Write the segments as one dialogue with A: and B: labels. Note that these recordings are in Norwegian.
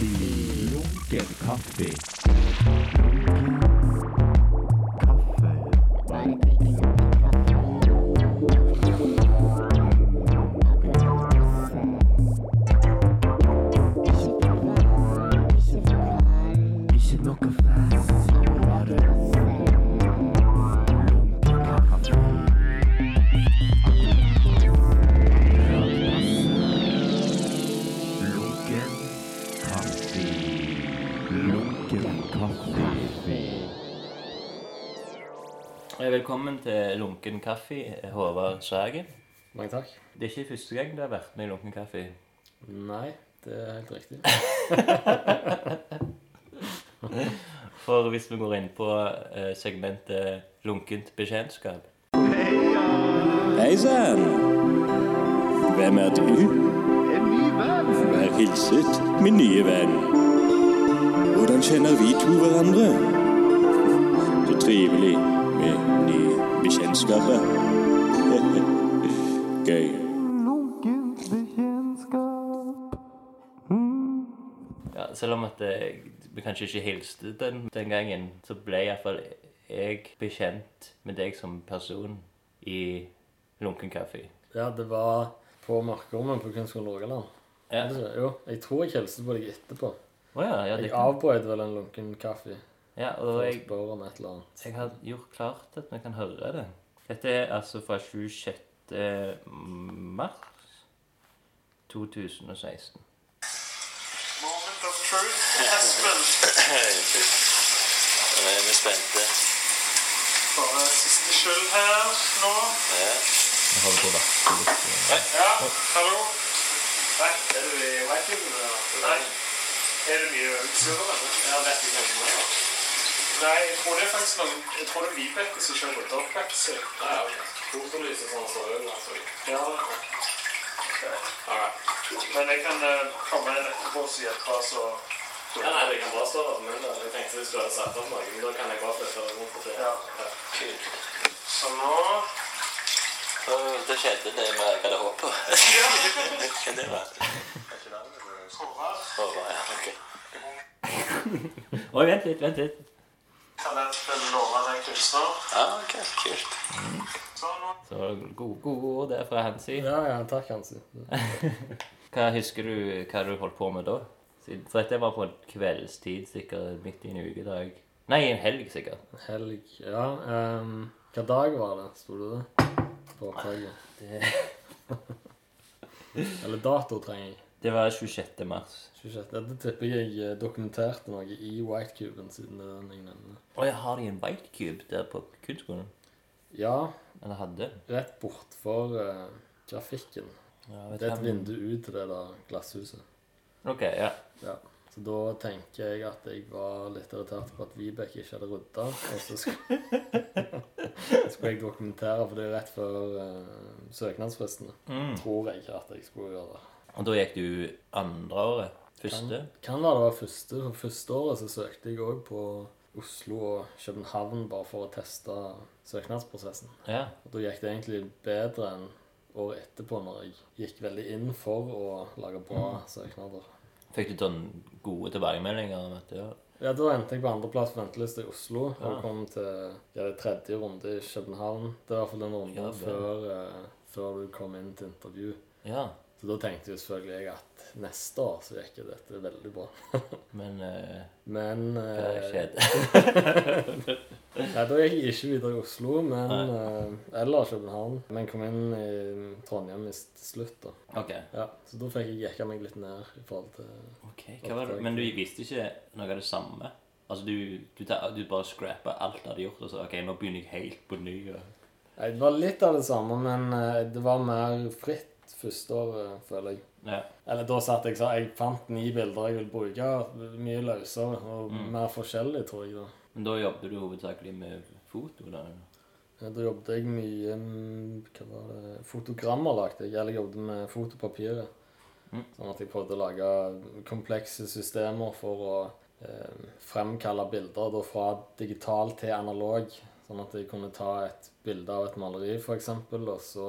A: Lunken kaffe. Lunken kaffe. Ikke noe fast, bare lunken kaffe. Lunken kaffe. Lunken kaffe.
B: Eh, Velkommen til Lunken kaffe, eh, Håvard Skjægen.
C: Mange takk.
B: Det er ikke første gang du har vært med i Lunken kaffe.
C: Nei, det er helt riktig.
B: For hvis vi går inn på eh, segmentet lunkent bekjentskap
D: Hei sann! Hvem er du? En ny venn. Vær hilset, min nye venn. Hvordan kjenner vi to hverandre? Så trivelig med nye bekjentskaper. Gøy.
B: ja, Selv om at eh, vi kanskje ikke hilste den, den gangen, så ble iallfall jeg bekjent med deg som person i Lunken kaffe.
C: Ja, det var på Markormen på Kunstskolen Rogaland.
B: Ja.
C: Er det ikke? Jo, jeg tror jeg hilste på deg etterpå.
B: Å ja, ja,
C: Jeg
B: det,
C: avbrøt vel en lunken kaffe
B: ja. Og
C: for å
B: jeg,
C: spørre om et eller annet.
B: jeg har gjort klart at vi kan høre det. Dette er altså fra 26. mars 2016.
E: Moment of truth. Espen.
F: Nå er vi spente.
E: Bare eh, siste skyld her nå.
F: Ja.
B: Jeg holder på å vaske litt.
E: Ja, hallo. Nei, er du i Vikingen? Nei. Er du mye utstyr? Ja, vet ikke hvem det er. Nei, jeg tror det er faktisk noen Jeg tror det er Vibeke som kjører Dogback. Ja, ok. Hvorfor lyser sånn så øl, altså? Ja. Okay. Men jeg kan eh, komme inn etterpå og hjelpe oss å
G: Ja, nei, det kan bare stå over munnen. Jeg tenkte du skulle ha satt opp noe, men da kan jeg bare flytte det rundt på det.
E: Ja. Så nå
F: Og Det skjedde det vi hadde håpet på. Det var
E: Håvard.
F: over, ja. ok.
B: Oi, vent litt, vent litt.
E: Talentfull, lovende kunstner.
F: Ja, ok, kult.
E: Så nå
B: Så gode god ord der fra Hansi.
C: Ja, ja, takk, Hansi.
B: Hva husker du hva du holdt på med da? Siden- For dette var på en kveldstid, sikkert midt i en ukedag. Nei, en helg, sikkert.
C: Helg Ja, ehm, hva dag var det? Sto det det? På opptaket. Eller dato trenger jeg.
B: Det var 26. mars.
C: 26. Dette tipper jeg jeg eh, dokumenterte noe i White Cuben, siden det er den jeg nevner.
B: Og jeg har de en white cube der på kunstskolen?
C: Ja,
B: Eller hadde?
C: rett bortfor uh, grafikken.
B: Ja,
C: Det er et vindu ut til det der glasshuset.
B: Ok, ja.
C: Ja. Så da tenker jeg at jeg var litt irritert på at Vibeke ikke hadde rydda. Og så skulle, skulle jeg dokumentere, for det er rett før eh, søknadsfristene. Tror jeg ikke at jeg skulle gjøre det.
B: Og da gikk du andre året? Første?
C: Kan være det var første. For første året så søkte jeg òg på Oslo og København bare for å teste søknadsprosessen.
B: Ja.
C: Og da gikk det egentlig bedre enn året etterpå, når jeg gikk veldig inn for å lage bra søknader.
B: Fikk du sånn gode tilbakemeldinger om at det var
C: Ja, da endte jeg på andreplass på venteliste i Oslo og kom til ja, det tredje runde i København. Det var i hvert fall den
B: Ja,
C: runden
B: vel.
C: før, eh, før du kom inn til intervju.
B: Ja.
C: Så da tenkte jo selvfølgelig jeg at neste år så gikk jo dette veldig bra.
B: Men eh,
C: men
B: hva
C: eh,
B: skjedde?
C: Nei, da gikk jeg ikke videre i Oslo, men eh, eller København. Men kom inn i Trondheim i s- til slutt, da.
B: Ok.
C: Ja, så da fikk jeg jekka meg litt ned i forhold til
B: Ok, hva var det? Men du visste ikke noe av det samme? Altså, du, du, ta- du bare scrappa alt du hadde gjort, og så OK, nå begynner jeg helt på ny. Og...
C: Nei, Det var litt av det samme, men eh, det var mer fritt første året, føler jeg.
B: Ja.
C: Eller da satt jeg sa jeg fant ni bilder jeg vil bruke. Mye løsere og mer forskjellig, tror jeg. da.
B: Men da jobbet du hovedsakelig med foto? da?
C: Da jobbet jeg mye mm, hva var det, Fotogrammer lagde jeg. Eller jeg jobbet med fotopapiret.
B: Mm.
C: Sånn at jeg prøvde å lage komplekse systemer for å eh, fremkalle bilder da fra digital til analog. Sånn at jeg kunne ta et bilde av et maleri, f.eks., og så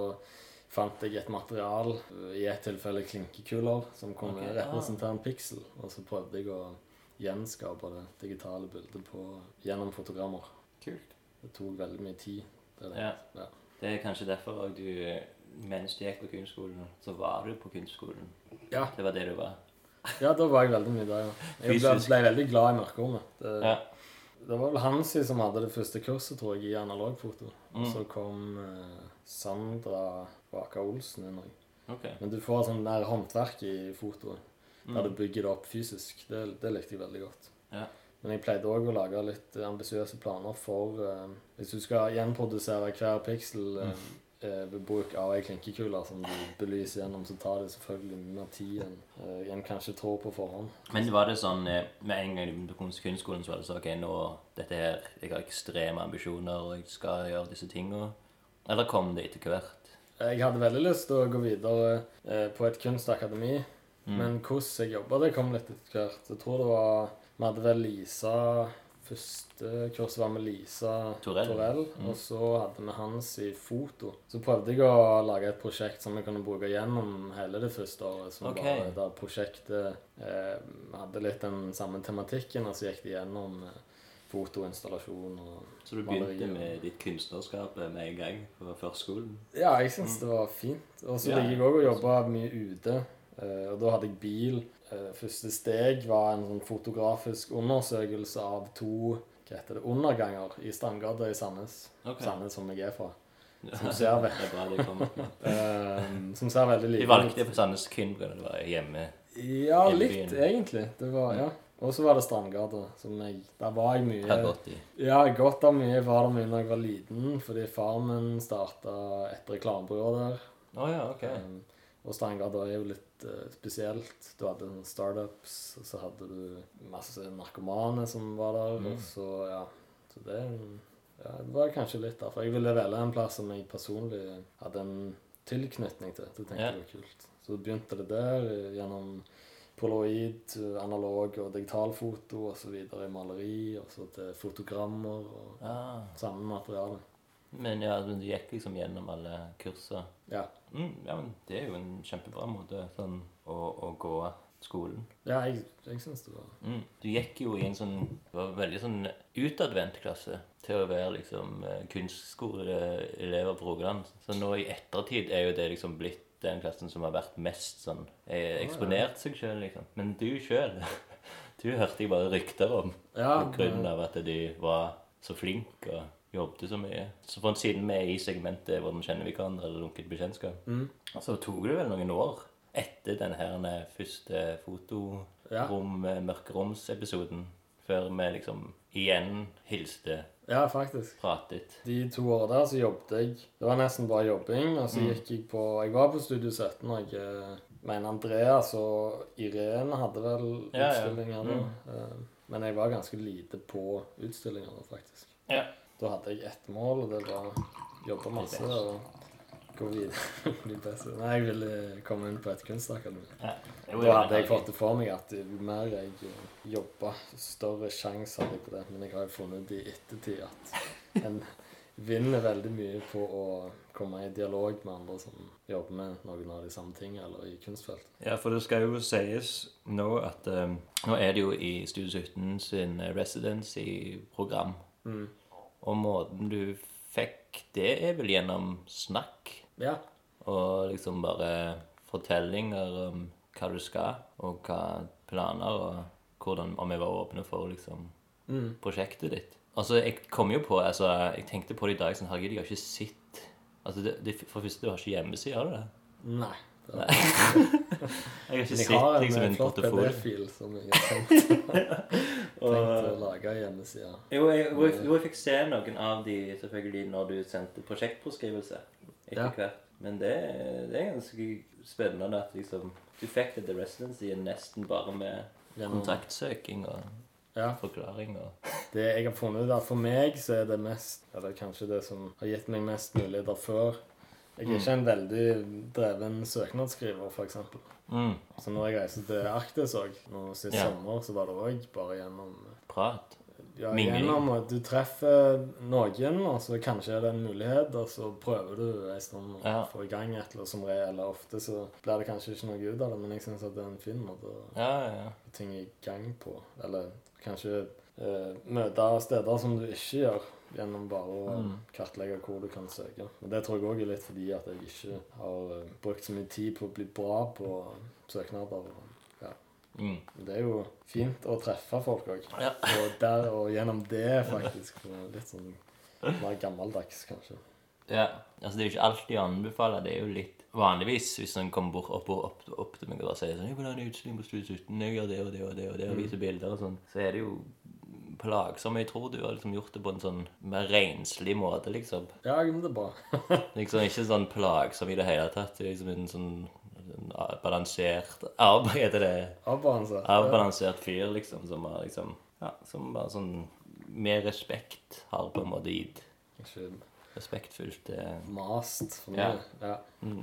C: fant jeg et material, eh, i et tilfelle klinkekuler, som kunne
B: Ok, ah.
C: representere en piksel. Og så prøvde jeg å gjenskape det digitale bildet på, gjennom fotogrammer.
B: Kult.
C: Det tok veldig mye tid. Det er det.
B: Ja.
C: Ja.
B: Det er kanskje derfor òg du Mens du gikk på kunstskolen, så var du på kunstskolen.
C: Ja.
B: Det var det du var.
C: Ja, da var jeg veldig mye der, ja. Jeg ble,
B: Fysisk.
C: ble veldig glad i mørkerommet. Det,
B: Ja.
C: det var vel Hansi som hadde det første kurset, tror jeg, i analogfoto. Og
B: Mm.
C: så kom eh, Sandra Waka Olsen inn òg.
B: Ok.
C: Men du får sånn der håndverk i fotoet, der du bygger det opp fysisk. Det, det likte jeg veldig godt.
B: Ja.
C: Men jeg pleide òg å lage litt eh, ambisiøse planer for eh, Hvis du skal gjenprodusere hver piksel eh, eh, ved bruk av ei klinkekule som du belyser gjennom, så tar det selvfølgelig mye mer tid enn eh, en kanskje tror på forhånd.
B: Men var det sånn eh, med en gang du begynte på kunst- kunstskolen, så var det sånn OK, nå dette her, Jeg har ekstreme ambisjoner, og jeg skal gjøre disse tinga. Eller kom det etter hvert?
C: Jeg hadde veldig lyst til å gå videre eh, på et kunstakademi,
B: Mm.
C: men hvordan jeg jobba, det kom litt etter hvert. Jeg tror det var Vi hadde vel Lisa Første kurs var med Lisa
B: Torell. Mm.
C: Og så hadde vi hans i foto. Så prøvde jeg å lage et prosjekt som vi kunne bruke gjennom hele det første året. Som
B: Ok.
C: bare, der prosjektet eh, hadde litt den samme tematikken, og så gikk det gjennom eh, fotoinstallasjon og
B: Så du
C: maleri
B: begynte
C: og-
B: med ditt kunstnerskap eh, med en gang på førskolen?
C: Ja, jeg syns det var fint. Og så
B: Ja,
C: liker jeg òg å jobbe mye ute. eh, Og da hadde jeg bil. Eh, Første steg var en sånn fotografisk undersøkelse av to hva heter det, underganger i Strandgata i Sandnes.
B: Ok.
C: Sandnes som jeg er fra. Som ser,
B: Det
C: ve
B: er bra det kom.
C: eh, som ser veldig
B: Vi
C: like
B: valgte på Sandnes Kun fordi det var hjemme.
C: Ja,
B: hele byen.
C: litt, egentlig. Det var, ja. Og så var det Strandgata. som jeg, Der var jeg mye.
B: Hadde gått i.
C: Ja, jeg gått der mye. Jeg var der mye da jeg var liten, fordi far min starta et reklamebyrå der.
B: Å ja, ok.
C: Um, og Steingarda er jo litt eh, spesielt. Du hadde sånne startups, og så hadde du masse narkomane som var der,
B: Mm.
C: og så ja. Så det, er en- ja, det var kanskje litt derfor. Jeg ville velge en plass som jeg personlig hadde en tilknytning til. Det tenkte
B: Ja.
C: jeg var kult. Så begynte det der eh, gjennom poloid, eh, analog og digitalfoto og så videre i maleri, og så til fotogrammer og
B: Ah.
C: samme materiale.
B: Men ja, men du gikk liksom gjennom alle kurser.
C: Ja.
B: Mm, ja, men det er jo en kjempebra måte sånn, å, å gå skolen.
C: Ja, jeg, jeg syns det var
B: Mm. Du gikk jo i en sånn det var en veldig sånn utadvendt klasse til å være liksom eh, kunstskoleelever på Rogaland. Så nå i ettertid er jo det liksom blitt den klassen som har vært mest sånn eh, eksponert seg sjøl, liksom. Men du sjøl, du hørte jeg bare rykter om
C: Ja,
B: på grunn av at du var så flink og jobbet så mye. Så for siden vi er i segmentet 'Hvordan kjenner vi hverandre?' eller 'Lunket bekjentskap', så tok Altså, det vel noen år etter den her første
C: Ja.
B: fotorom-mørkeromsepisoden før vi liksom igjen hilste,
C: Ja, faktisk.
B: pratet.
C: De to årene der så jobbet jeg. Det var nesten bare jobbing. Og så
B: Mm.
C: gikk jeg på Jeg var på Studio 17, og jeg eh, mener Andreas og Irene hadde vel
B: Ja, Mm. ja.
C: utstillinger da. Eh, Men jeg var ganske lite på utstillinger da, faktisk.
B: Ja.
C: Da hadde jeg ett mål, og det var å jobbe masse
B: best.
C: og gå videre. Bli best. Nei, jeg ville komme inn på et kunstakademi. Da hadde jeg fått det for meg at jo mer jeg jobba, større sjanse hadde jeg på det. Men jeg har jo funnet ut i ettertid at en vinner veldig mye på å komme i dialog med andre som jobber med noen av de samme tingene, eller i kunstfeltet.
B: Ja, for det skal jo sies nå at eh, Nå er det jo i Studio 17 sin residency-program.
C: Mm.
B: Og måten du fikk det, er vel gjennom snakk.
C: Ja.
B: Og liksom bare fortellinger om hva du skal, og hva planer, og hvordan, om jeg var åpne for liksom
C: Mm.
B: prosjektet ditt. Altså, jeg kom jo på, altså, jeg tenkte på det i dag, sånn, herregud, jeg har ikke sett Altså, det, det, for det første, du har ikke hjemmeside, har du det?
C: Nei. Det-
B: Jeg har ikke
C: Jeg
B: sett
C: har en,
B: liksom
C: eh,
B: en
C: flott
B: portefølje.
C: PD-fil som jeg har tenkt, tenkt å lage hjemmeside.
B: Jo, jeg, jo, jeg, jo, jeg fikk se noen av de selvfølgelig når du sendte prosjektbeskrivelse etter
C: Ja.
B: hvert. Men det, det er ganske spennende at liksom, du fikk det til residency nesten bare med
C: Gjennom-
B: kontaktsøking og
C: Ja.
B: forklaring og
C: Det jeg har funnet ut er at for meg så er det mest Eller kanskje det som har gitt meg mest muligheter før. Jeg er ikke en veldig dreven søknadsskriver, f.eks.
B: mm,
C: Så når jeg reiser til Arktis òg, nå sist
B: Ja.
C: sommer, så var det òg bare gjennom
B: prat.
C: ja,
B: Mingling.
C: gjennom og Du treffer noen, og så kanskje er det en mulighet, og så prøver du en stund å
B: Ja.
C: få i gang et eller annet som regel. og Ofte så blir det kanskje ikke noe ut av det, men jeg syns at det er en fin måte å
B: Ja, ja, ja.
C: få ting i gang på. Eller kanskje eh, møte steder som du ikke gjør, gjennom bare å
B: Mm.
C: kartlegge hvor du kan søke. Men det tror jeg òg er litt fordi at jeg ikke har eh, brukt så mye tid på å bli bra på søknader. og Ja.
B: Mm.
C: Det er jo fint å treffe folk òg.
B: Ja.
C: Og, der- og gjennom det, faktisk. og Litt sånn mer gammeldags, kanskje.
B: Ja, altså Det er jo ikke alltid å anbefale. Det er jo litt vanligvis hvis en kommer bort opp, opp, opp til meg og bare sier sånn 'Jeg vil ha en utstilling på Studio 17. Jeg gjør det og det og det og det og viser bilder og sånn.' Så er det jo plagsomt. Jeg tror du har liksom gjort det på en sånn mer renslig måte, liksom.
C: Ja, men det er bra.
B: liksom ikke sånn plagsom i det hele tatt. Det er liksom en sånn en a- balansert arbeid heter det.
C: Avbalanse.
B: Avbalansert fyr, liksom, som har liksom Ja, som bare sånn med respekt har på en måte gitt
C: Ikke
B: respektfullt eh,
C: mast for
B: Ja.
C: mye. Ja.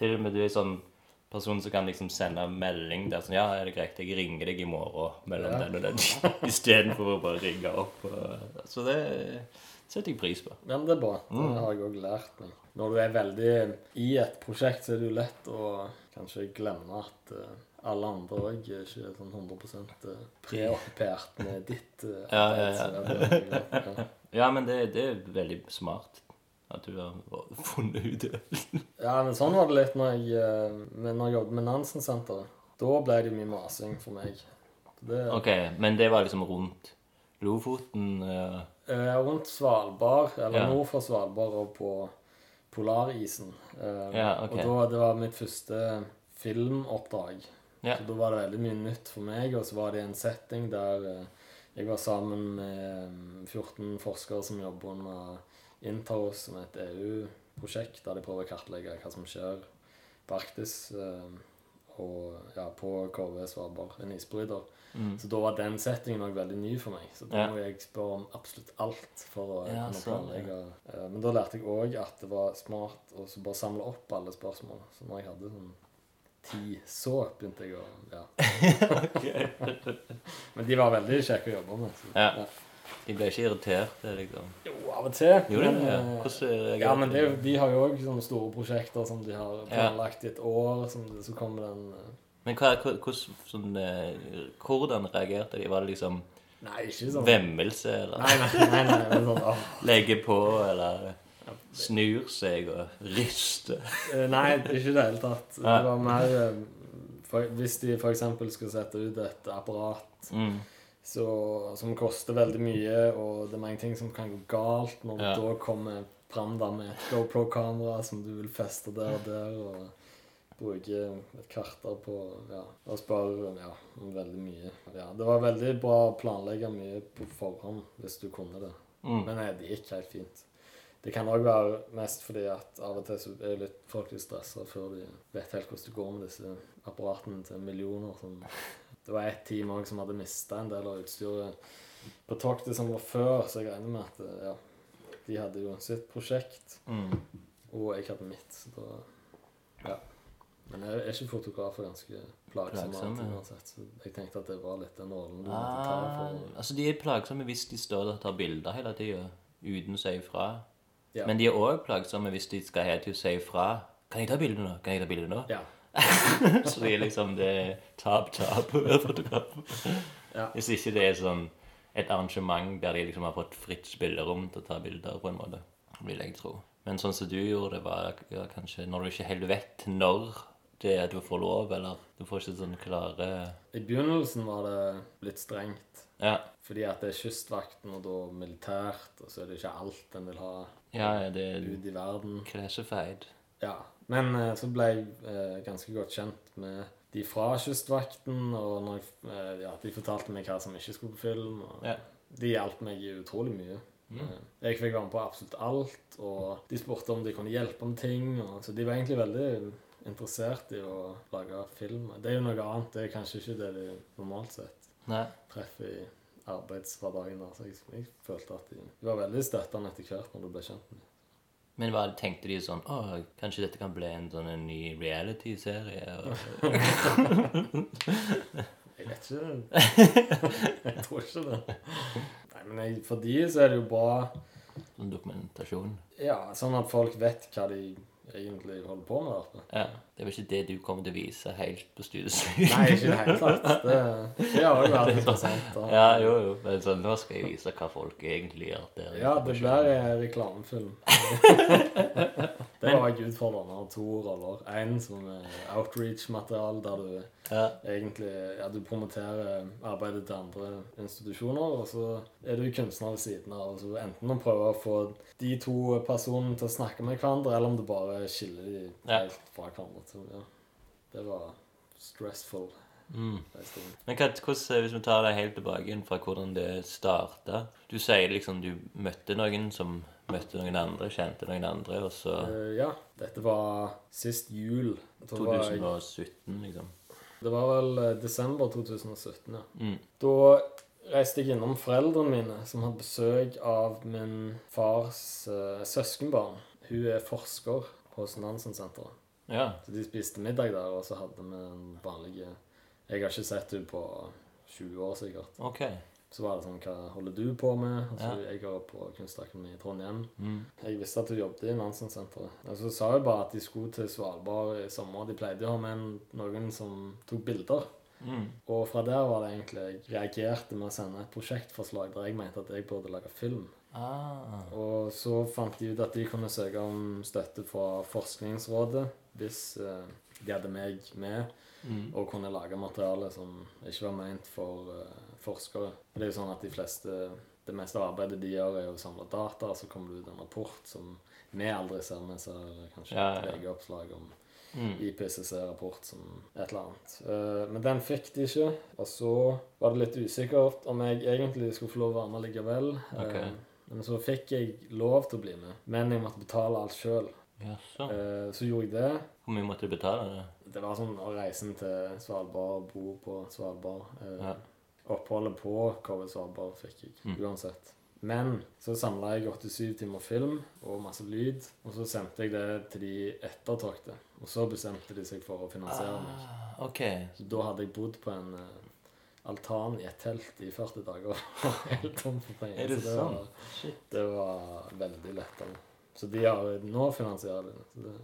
B: Til og med du er sånn person som kan liksom sende en melding der sånn Ja, er det greit, jeg ringer deg i morgen mellom
C: Ja.
B: den og den, istedenfor å bare ringe opp. Og, så det setter jeg pris på.
C: Ja, men det er bra.
B: Mm.
C: Det har jeg òg lært meg. Når du er veldig i et prosjekt, så er det jo lett å kanskje glemme at eh, alle andre òg er ikke sånn 100 preoppert med ditt eh,
B: Ja,
C: arbeid.
B: ja,
C: så det er veldig greit, ja.
B: Ja, men det, det er veldig smart at du har funnet ut det.
C: Ja, men sånn var det litt når jeg, eh, men når jeg jobbet med Nansen-senteret. Da ble det jo mye masing for meg. Det,
B: Ok, men det var liksom rundt Lofoten eh,
C: eh, rundt Svalbard, eller
B: Ja.
C: nord for Svalbard, og på polarisen. Eh,
B: Ja, ok.
C: Og da, det var mitt første filmoppdrag.
B: Ja.
C: Så da var det veldig mye nytt for meg, og så var det en setting der eh, jeg var sammen med eh, 14 forskere som jobber under Interhos, som E er et EU-prosjekt, der de prøver å kartlegge hva som skjer på Arktis, eh, og ja, på KV Svalbard, en isbryter. Så da var den settingen også veldig ny for meg. Så da
B: Mm. Ja.
C: må jeg spørre om absolutt alt for å
B: Ja,
C: kunne
B: sånn, ja.
C: planlegge. Eh, Men da lærte jeg òg at det var smart å så bare samle opp alle spørsmål. Så når jeg hadde sånn ti, så begynte jeg å Ja. Men de var veldig kjekke å jobbe med. Så.
B: Ja. De ble ikke irritert, det liksom.
C: Jo, av og til.
B: Jo, det
C: men,
B: ja.
C: eh,
B: Hvordan reagerte
C: ja, men det, er
B: du?
C: jo- de har jo òg sånne store prosjekter som de har planlagt i et år. Som det, så kommer den eh,
B: Men hva, hva- hvordan, sånn, eh, hvordan reagerte de? Var det liksom
C: Nei, ikke sånn
B: vemmelse, eller?
C: Nei, nei, nei, nei, men sånn, åh.
B: legger på eller snur seg og rister.
C: Eh, Nei, ikke i det hele tatt. Det
B: Nei.
C: var mer eh, for, Hvis de f.eks. skulle sette ut et apparat
B: Mm.
C: så, som koster veldig mye, og det er mange ting som kan gå galt når
B: Ja.
C: du da kommer fram der med et GoPro-kamera som du vil feste der og der, og bruke et kvarter på ja, og spare ja, om veldig mye. Ja, det var veldig bra å planlegge mye på forhånd hvis du kunne det.
B: Mm.
C: Men nei, det gikk helt fint. Det kan òg være mest fordi at av og til så er litt folk litt stressa før de vet helt hvordan det går med disse apparatene til millioner. Som det var ett team òg som hadde mista en del av utstyret på toktet som var før, så jeg regner med at ja, de hadde jo sitt prosjekt,
B: Mm.
C: og jeg hadde mitt. Så da, ja. Men jeg er ikke fotograf og ganske plagsom
B: Plagsom,
C: alltid
B: ja.
C: uansett, så jeg tenkte at det var litt den rollen du måtte ta
B: Ah,
C: for
B: altså, de er plagsomme hvis de står og tar bilder hele tida uten å si ifra.
C: Ja.
B: Men de er òg plagsomme hvis de skal hele tida si ifra. Kan jeg ta bilde nå? Kan jeg ta bilde nå?
C: Ja.
B: Så det er liksom det er tap, tap å være fotograf.
C: Ja.
B: Hvis ikke det er sånn et arrangement der de liksom har fått fritt spillerom til å ta bilder, på en måte, vil jeg tro. Men sånn som du gjorde det, var ja, kanskje når du ikke helt vet når det er at du får lov, eller du får ikke sånn klare
C: I begynnelsen var det litt strengt.
B: Ja,
C: Fordi at det er kystvakten, og da militært, og så er det ikke alt en vil ha
B: ja det er
C: ut i verden.
B: classified.
C: Ja. Men eh, så ble jeg eh, ganske godt kjent med de fra kystvakten, og når jeg, eh, ja, de fortalte meg hva som ikke skulle på film. Og
B: Ja.
C: De hjalp meg utrolig mye. Eh, Jeg fikk være med på absolutt alt, og de spurte om de kunne hjelpe om ting. Og, så de var egentlig veldig interessert i å lage film. Det er jo noe annet. Det er kanskje ikke det de normalt sett
B: Nei.
C: treff i arbeidshverdagen. Altså, jeg, jeg følte at de, de var veldig støttende etter hvert når du ble kjent med dem.
B: Men hva tenkte de sånn Å, kanskje dette kan bli en sånn en ny reality-serie? og-
C: Jeg vet ikke. jeg tror ikke det. Nei, men jeg, for de så er det jo bra
B: Sånn dokumentasjon.
C: ja, sånn at folk vet hva de egentlig holder på med. altså. i hvert fall.
B: Ja. Det er vel ikke det du kommer til å vise helt på studiet?
C: Nei, ikke i det hele tatt. Det, det har jo vært interessant. da.
B: Ja, jo, jo. Men sånn, nå skal jeg vise hå folk egentlig gjør der.
C: Ja, det blir en reklamefilm. det var jeg utfordrende av to roller. En som er outreach-materiale, der du
B: Ja.
C: egentlig ja, du promoterer eh, arbeidet til andre institusjoner, og så er du kunstner ved siden av. Altså enten å prøve å få de to personene til å snakke med hverandre, eller om du bare skiller de
B: Ja.
C: helt fra hverandre. Så, ja. Det var stressful.
B: Mm.
C: en stund.
B: Men hva, hvordan, eh, hvis vi tar deg helt tilbake igjen fra hvordan det starta Du sier liksom du møtte noen som møtte noen andre, kjente noen andre, og så
C: Eh, ja, dette var sist jul. Da var jeg-
B: 2017, liksom.
C: Det var vel eh, desember 2017, ja.
B: Mm.
C: Da reiste jeg innom foreldrene mine, som hadde besøk av min fars eh, søskenbarn. Hun er forsker hos Nansensenteret.
B: Ja.
C: Så de spiste middag der, og så hadde vi en vanlig eh, Jeg har ikke sett henne på 20 år, sikkert.
B: OK.
C: Så var det sånn Hva holder du på med? Og så Jeg går på Kunstakademiet i Trondheim.
B: Mm.
C: Jeg visste at hun jobbet i Nansen-senteret. Og så sa hun bare at de skulle til Svalbard i sommer. De pleide å ha med en- noen som tok bilder.
B: Mm.
C: Og fra der var det egentlig jeg reagerte med å sende et prosjektforslag der jeg mente at jeg burde lage film.
B: Ah.
C: Og så fant de ut at de kunne søke om støtte fra Forskningsrådet hvis eh, de hadde meg med
B: Mm.
C: og kunne lage materiale som ikke var ment for eh, forskere. For det er jo sånn at de fleste Det meste av arbeidet de gjør, er jo å samle data, så kommer det ut en rapport som vi aldri ser, men så er det kanskje
B: Ja,
C: et
B: ja.
C: VG-oppslag om
B: Mm.
C: IPCC-rapport som et eller annet. Eh, Men den fikk de ikke, og så var det litt usikkert om jeg egentlig skulle få lov å være med likevel. Eh,
B: Ok.
C: Men så fikk jeg lov til å bli med, men jeg måtte betale alt sjøl.
B: Jaså.
C: Så gjorde jeg det.
B: Hvor mye måtte du betale? da?
C: Det var sånn å reise til Svalbard, bo på Svalbard. Eh,
B: Ja.
C: Oppholdet på Cover Svalbard fikk jeg
B: Mm.
C: uansett. Men så samla jeg 87 timer film og masse lyd, og så sendte jeg det til de ettertrakte. Og så bestemte de seg for å finansiere meg.
B: Ah, OK.
C: Så da hadde jeg bodd på en eh, altan i et telt i 40 dager. Helt tom for penger.
B: Er det
C: Så det
B: sant?
C: var- Det var veldig lettere. Så de har nå finansierer de det. Så det.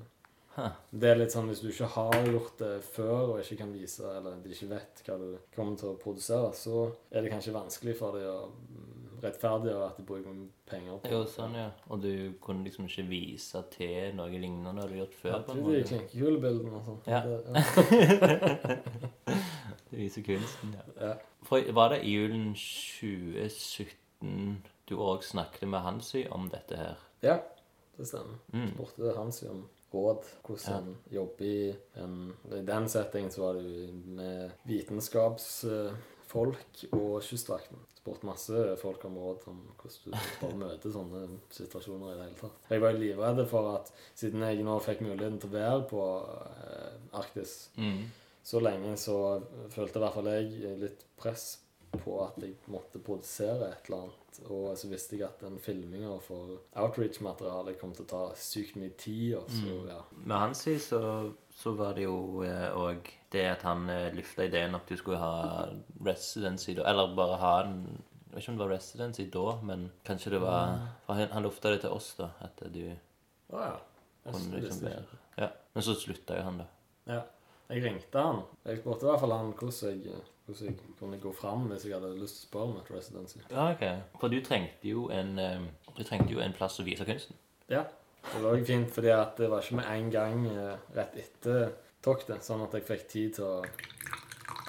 B: Huh.
C: Det er litt sånn hvis du ikke har gjort det før og ikke kan vise, eller de ikke vet hva du kommer til å produsere, så er det kanskje vanskelig for dem å mm, rettferdiggjøre at de bruker penger på
B: Jo, sånn, ja. Og du kunne liksom ikke vise til noe lignende du hadde gjort før?
C: Ja,
B: på
C: det
B: en
C: er de
B: måte.
C: klinkekulebildene og sånn.
B: Ja.
C: Det-
B: Det viser kunsten, ja.
C: Ja.
B: For var det i julen 2017 du òg snakket med Hansi om dette her?
C: ja, det stemmer.
B: Mm.
C: Spurte Hans jo om råd, hvordan en jobber i en I den settingen så var det jo med vitenskapsfolk og Kystvakten. Spurte masse folk om råd om hvordan du bare møter sånne situasjoner i det hele tatt. Jeg var jo livredd for at siden jeg nå fikk muligheten til å være på eh, Arktis
B: Mm.
C: så lenge så følte i hvert fall jeg litt press på at jeg måtte produsere et eller annet. Og så visste jeg at den filminga for outreach-materialet kom til å ta sykt mye tid. Og så,
B: Mm.
C: ja.
B: Med Hansi så, så var det jo òg det at han eh, løfta ideen at du skulle ha residency da, eller bare ha en jeg vet ikke om det var residency da, men kanskje det var for Han, han lufta det til oss, da. At du
C: Å ja. Jeg,
B: kunne liksom
C: visste
B: være
C: ikke.
B: ja. Men så slutta jo han, da.
C: ja. jeg ringte han. Jeg spurte i hvert fall han hvordan jeg, hvordan jeg kunne gå fram hvis jeg hadde lyst til å spørre om et residency.
B: Ja, ok. For du trengte jo en eh, Du trengte jo en plass å vise kunsten.
C: Ja. Det var jo fint, fordi at det var ikke med en gang eh, rett etter toktet, sånn at jeg fikk tid til å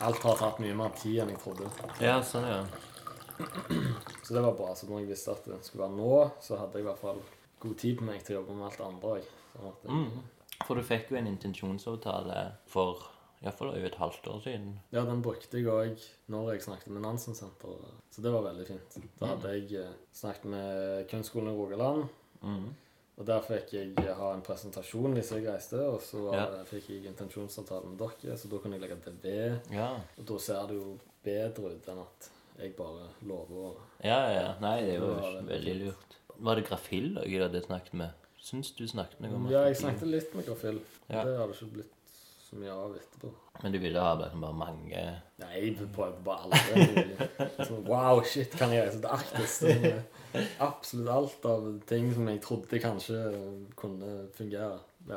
C: Alt har tatt mye mer tid enn jeg trodde.
B: Ja, sånn, ja.
C: Så det var bra. Så når jeg visste at det skulle være nå, så hadde jeg i hvert fall god tid på meg til å jobbe med alt andre òg. Sånn at-
B: Mm. For du fikk jo en intensjonsavtale for iallfall over et halvt år siden.
C: Ja, den brukte jeg òg når jeg snakket med Nansen-senteret. Så det var veldig fint. Da hadde jeg eh, snakket med Kunstskolen i Rogaland.
B: Mm.
C: Og der fikk jeg eh, ha en presentasjon hvis jeg reiste, og så var
B: Ja.
C: det- fikk jeg intensjonsavtale med dere, så da kunne jeg legge til ved.
B: Ja.
C: Og da ser det jo bedre ut enn at jeg bare lover å
B: Ja, ja. Nei, det
C: Det
B: var
C: var
B: veldig lurt. Var det Grafill da, jeg hadde snakket med? Syns du snakket med
C: Ja, jeg snakket litt med Grafil.
B: Ja.
C: Det har det ikke blitt så mye av etterpå.
B: Men du ville ha liksom bare mange
C: Nei, jeg prøvde bare alt. Sånn, wow, shit, kan jeg reise til Arktis? Sånn, eh, absolutt alt av ting som jeg trodde kanskje eh, kunne fungere. Ja.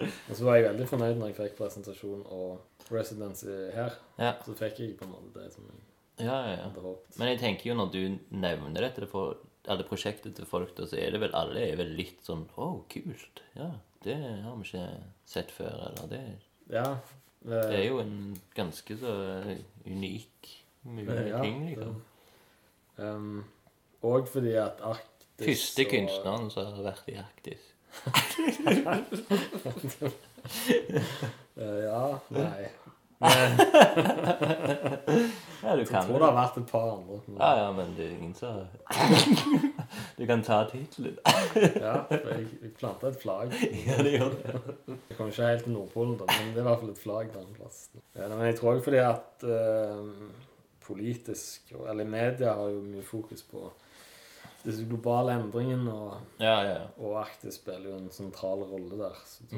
C: Og så var jeg veldig fornøyd når jeg fikk presentasjon og residency her.
B: Ja,
C: Så fikk jeg på en måte det som jeg
B: ja, ja. ja.
C: hadde håpet.
B: Men jeg tenker jo når du nevner dette til folk, eller prosjektet til folk, da, så er det vel alle er vel litt sånn Å, kult. Ja, det har vi ikke sett før, eller det,
C: Ja. eh,
B: det er jo en ganske så unik
C: eh,
B: mulig ting, liksom.
C: Um, og fordi at Arktis
B: Første
C: og-
B: kunstneren som har vært i Arktis.
C: Eh, ja. Nei.
B: Ja, du
C: Jeg
B: kan
C: tror det har vært et par andre. men-
B: Ja, ja, men det er ingen som Du kan ta tittelen.
C: Ja, for jeg, jeg planta et flagg.
B: Ja, det gjør det.
C: Jeg kom ikke helt til Nordpolen, da, men det er i hvert fall et flagg der en plass. Ja, nei, men jeg tror også fordi at eh, politisk, og- eller media, har jo mye fokus på disse globale endringene, og,
B: Ja, ja, ja.
C: og Arktis spiller jo en sentral rolle der. Så da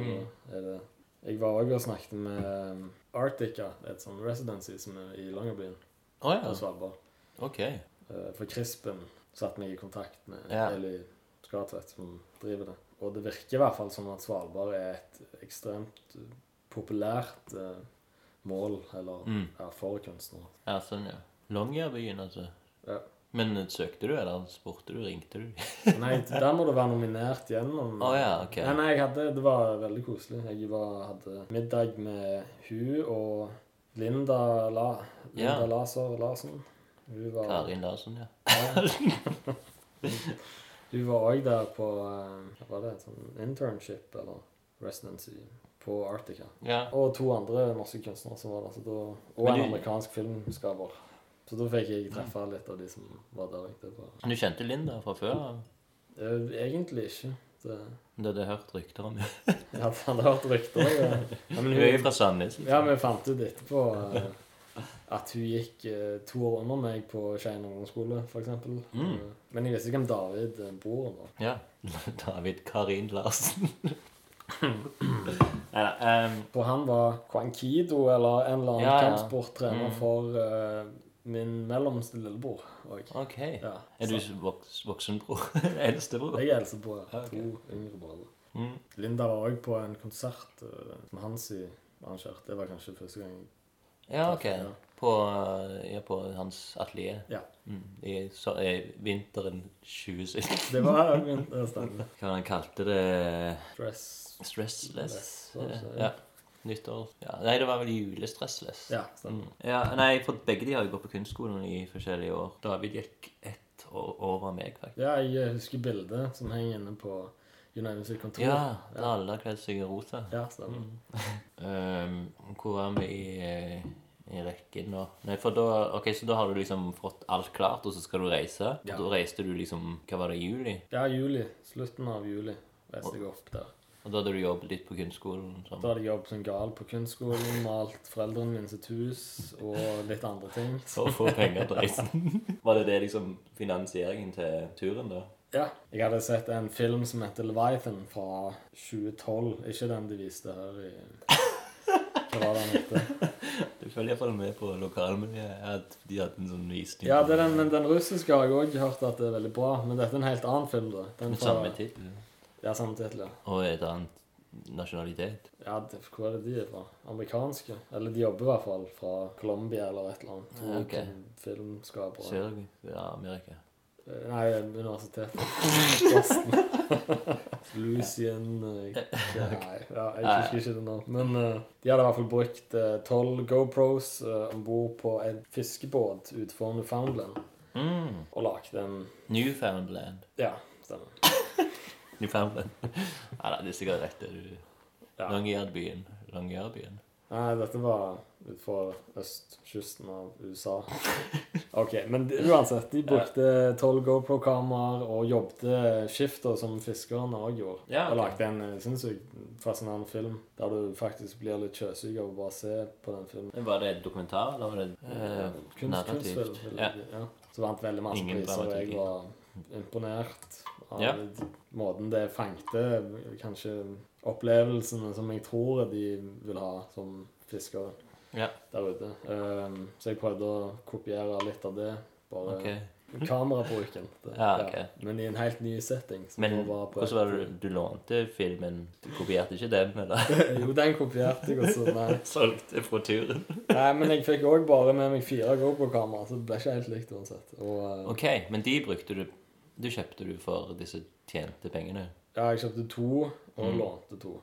C: er det Jeg var òg og snakket med eh, Arctica, et sånn residency som er i Longyearbyen
B: Å
C: på
B: ja.
C: Svalbard.
B: Ok.
C: Eh, For Krispen satte meg i kontakt med
B: Ja.
C: Eli Skartvedt, som driver det. Og det virker i hvert fall som at Svalbard er et ekstremt eh, populært eh, mål eller,
B: Mm.
C: ja, for kunstnere.
B: Ja, sånn, ja. Longyearbyen, altså.
C: Ja.
B: Men eh, søkte du, eller spurte du, ringte du?
C: Nei, der må du være nominert gjennom
B: Å ja, ok.
C: Nei, nei, jeg hadde, det var veldig koselig. Jeg var, hadde middag med hun og Linda, La, Linda
B: Ja.
C: Laser Larsen. Hun var,
B: Karin Larsen, ja.
C: Hun var òg der på eh, hva var det, sånn internship eller residency på Arctica.
B: Ja,
C: Og to andre norske kunstnere som var der. Så da, og
B: Men
C: en
B: du-
C: amerikansk filmskaper. Så da fikk jeg treffe litt av de som var der. Det var,
B: Du kjente Linda fra før? av?
C: Eh, egentlig ikke. Det,
B: Du hadde hørt rykter om henne?
C: jeg hadde, hadde hørt rykter. jeg- Ja, men
B: Hun er jo
C: hun,
B: fra Sandnes. liksom.
C: ja, vi fant ut etterpå eh, at hun gikk eh, to år under meg på Skien ungdomsskole, f.eks.
B: Mm.
C: Men jeg visste ikke hvem David eh, bor der.
B: Ja. David Karin Larsen. Nei da. Um,
C: For han var Kwankido eller en eller annen
B: Ja, ja.
C: kampsporttrener
B: Mm.
C: for eh, min mellomste lillebror. Og,
B: OK.
C: ja,
B: Er du
C: så
B: voks, voksenbror? Eldstebror?
C: Jeg er eldstebror.
B: Ja, ok.
C: To yngre brødre.
B: Mm.
C: Linda var òg på en konsert eh, som Hansi arrangerte. Det var kanskje første gang.
B: Ja, OK. På, eh, ja, på hans atelier.
C: Ja.
B: Mm. I, så, i vinteren 2017.
C: Det var min det stemmer.
B: Hva var det han kalte det?
C: Stress.
B: Stressless? altså.
C: Stress, var det ikke det?
B: eh, Ja. Nyttår. Ja. Nei, det var vel julestressless.
C: Ja, stemmer.
B: Mm. Ja, nei, for begge de har jo gått på kunstskolen i forskjellige år. David gikk ett år over meg, faktisk.
C: Ja, jeg eh, husker bildet som henger inne på United sitt kontor.
B: Ja, Mm. da alle har kledd seg i rosa.
C: ja stemmer.
B: Ehm, hvor er vi i, eh, i rekken nå? Nei, for da, ok, så da har du liksom fått alt klart, og så skal du reise.
C: Ja.
B: Og da reiste du liksom, hva var det, i juli?
C: Ja, juli. Slutten av juli reiste jeg opp der.
B: Og da hadde du jobbet litt på kunstskolen? Sånn.
C: Da hadde jeg jobbet som gal på kunstskolen, malt foreldrene mine sitt hus og litt andre ting.
B: For å få penger til reisen. var det det liksom finansieringen til turen da?
C: Ja, Jeg hadde sett en film som heter Leviathan fra 2012. Ikke den de viste her i Hva var det den heter?
B: Du følger i hvert fall med på lokalmiljøet at de hadde en sånn visning.
C: Ja, det er den, men den russiske har jeg òg hørt at det er veldig bra. Men dette er en helt annen film, da. Den
B: Med samme tittel.
C: Ja, samme tittel, ja.
B: Og et annet nasjonalitet.
C: ja. det- Hvor er det de er fra? Amerikanske? Eller de jobber i hvert fall fra Colombia eller et eller annet. To
B: Ja, ok.
C: filmskapere.
B: Sør-Amerika.
C: Nei, universitetet. Boston. Lucian eh, Nei, ja, jeg husker ikke det nå. Men eh, de hadde i hvert fall brukt eh, tolv GoPros uh, om bord på en fiskebåt utenfor Newfoundland
B: Mm.
C: og lagd en
B: Newfoundland.
C: Ja, stemmer.
B: Newfoundland. Nei, nei, det er sikkert rett det du...
C: Ja.
B: Longyearbyen. Longyearbyen.
C: Nei, dette var utenfor østkysten av USA. OK, men de- uansett, de brukte tolv GoPro-kameraer og jobbet skifter som fiskerne òg gjorde.
B: Ja, ok.
C: Og lagde en eh, sinnssykt fascinerende film der du faktisk blir litt sjøsyk av å bare se på den filmen.
B: Men Var det et dokumentar, eller var det eh,
C: Kunst, kunstfilm.
B: narrativt?
C: vil
B: Ja.
C: jeg si, Ja. Så vant veldig masse
B: Ingen
C: priser, og
B: dramatikk i
C: jeg var imponert av
B: Ja.
C: måten det fangte kanskje opplevelsene som jeg tror de vil ha som fiskere
B: Ja,
C: der ute. Ehm, så jeg prøvde å kopiere litt av det. Bare
B: ok.
C: kamerabruken. Det-
B: Ja, ok.
C: Men i en helt ny setting. så
B: Men
C: det var bare på
B: hvordan var
C: et-
B: det du lånte filmen? Du kopierte ikke den, eller
C: Jo, den kopierte jeg også. Nei.
B: solgte fra turen?
C: Nei, men jeg fikk òg bare med meg fire GoPro-kamera, så det ble ikke helt likt uansett. Og, eh,
B: Ok, men de brukte du Du kjøpte du for disse tjente pengene?
C: ja, jeg kjøpte to,
B: Mm.
C: og lånte to.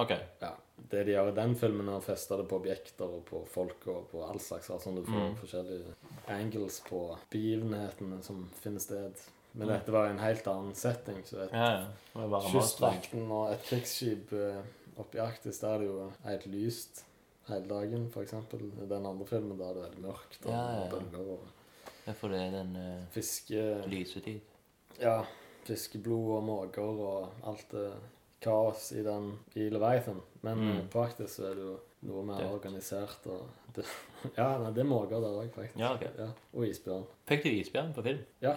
B: Ok.
C: ja, det de gjør i den filmen, er å feste det på objekter og på folk og på all slags rart, sånn du får
B: Mm.
C: forskjellige angles på begivenhetene som finner sted. Men dette var en helt annen setting. så et
B: Ja, ja. Det var Mm. bare master.
C: Kystvakten og et krigsskip eh, oppe i Arktis, der er det jo helt lyst hele dagen, for eksempel. I den andre filmen der er det veldig mørkt, og
B: Ja, ja, ja.
C: bølger og
B: Ja, for det er den eh,
C: fiske...
B: lysetid.
C: Ja, fiskeblod og måker og alt det kaos i den i Leviathan. Men
B: Mm.
C: eh, praktisk så er det jo noe mer
B: Dødt.
C: organisert og det, Ja, nei, det er måker der òg, faktisk.
B: Ja, ok.
C: og isbjørn.
B: Fikk du isbjørn på film?
C: Ja.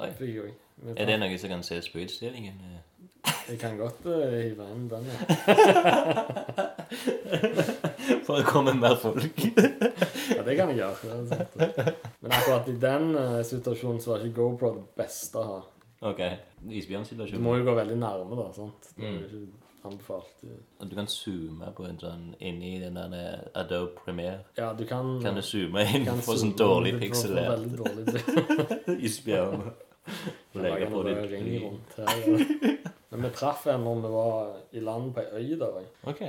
B: Oi.
C: Fikk jeg òg. Men
B: Er det noe som kan ses på utstillingen? eh?
C: Jeg kan godt eh, hive inn den. Ja.
B: For å komme mer folk.
C: ja, det kan jeg gjøre. Det er sant, det. Men akkurat i den eh, situasjonen så var ikke GoPro det beste å ha.
B: Ok.
C: Du
B: Isbjørnsituasjon.
C: må jo gå veldig nærme, da. sant? Det er jo
B: Mm.
C: ikke anbefalt.
B: Og Du kan zoome på en sånn inni den der eh, Adobe Premiere.
C: Ja, du kan
B: Kan du zoome inn
C: kan
B: på sånn
C: zoome,
B: dårlig
C: men du får- får
B: pikselert
C: veldig dårlig
B: isbjørn? Og legge på
C: Lager noe
B: ditt
C: ring
B: liv.
C: rundt her. Men vi traff en når vi var i land på ei øy der. jeg.
B: Ok.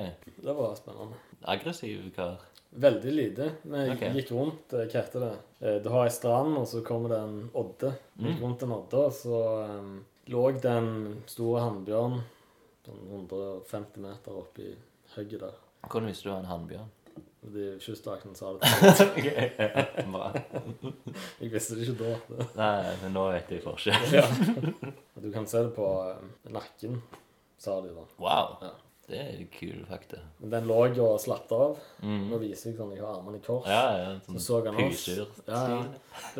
C: Det var spennende.
B: Aggressiv kar.
C: Veldig lite. Vi
B: Ok.
C: gikk rundt eh, Hva heter det? Eh, Du har ei strand, og så kommer det en odde. Vi
B: Mm.
C: gikk rundt en odde, og så um, lå det en stor hannbjørn sånn 150 meter oppi hugget der.
B: Hvordan visste du det var en hannbjørn?
C: Og De kystvakten sa det til meg.
B: Bra.
C: Jeg visste det ikke da.
B: Nei, men nå vet jeg forskjell.
C: Ja. Du kan se det på eh, nakken, sa de da.
B: Wow.
C: Ja.
B: Det er kule fakta.
C: Men den lå jeg og slappet av.
B: Mm.
C: Nå viser jeg sånn jeg har armene i kors.
B: Ja, ja.
C: Så
B: Sånn
C: så han oss.
B: pusur.
C: Ja, ja.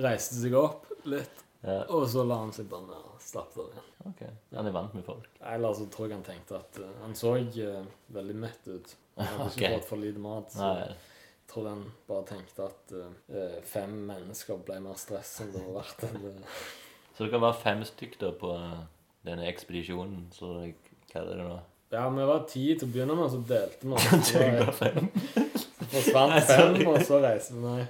C: Reiste seg opp litt,
B: Ja.
C: og så la han seg bare ned og slappet av igjen.
B: Ok. Han er vant med folk.
C: Eller så tror jeg han tenkte at eh, Han så eh, veldig mett ut. Han hadde ikke
B: Ok.
C: fått for lite mat. Så
B: Nei.
C: jeg tror han bare tenkte at eh, eh, fem mennesker ble mer stress enn det var verdt. enn det-
B: Så dere var fem stykk da på eh, denne ekspedisjonen, så jeg kaller det nå.
C: Ja, vi var ti til å begynne med, og så delte vi oss. Så
B: Dere
C: var-
B: var fem.
C: forsvant
B: Nei, sorry.
C: fem, og så reiste vi. Nei.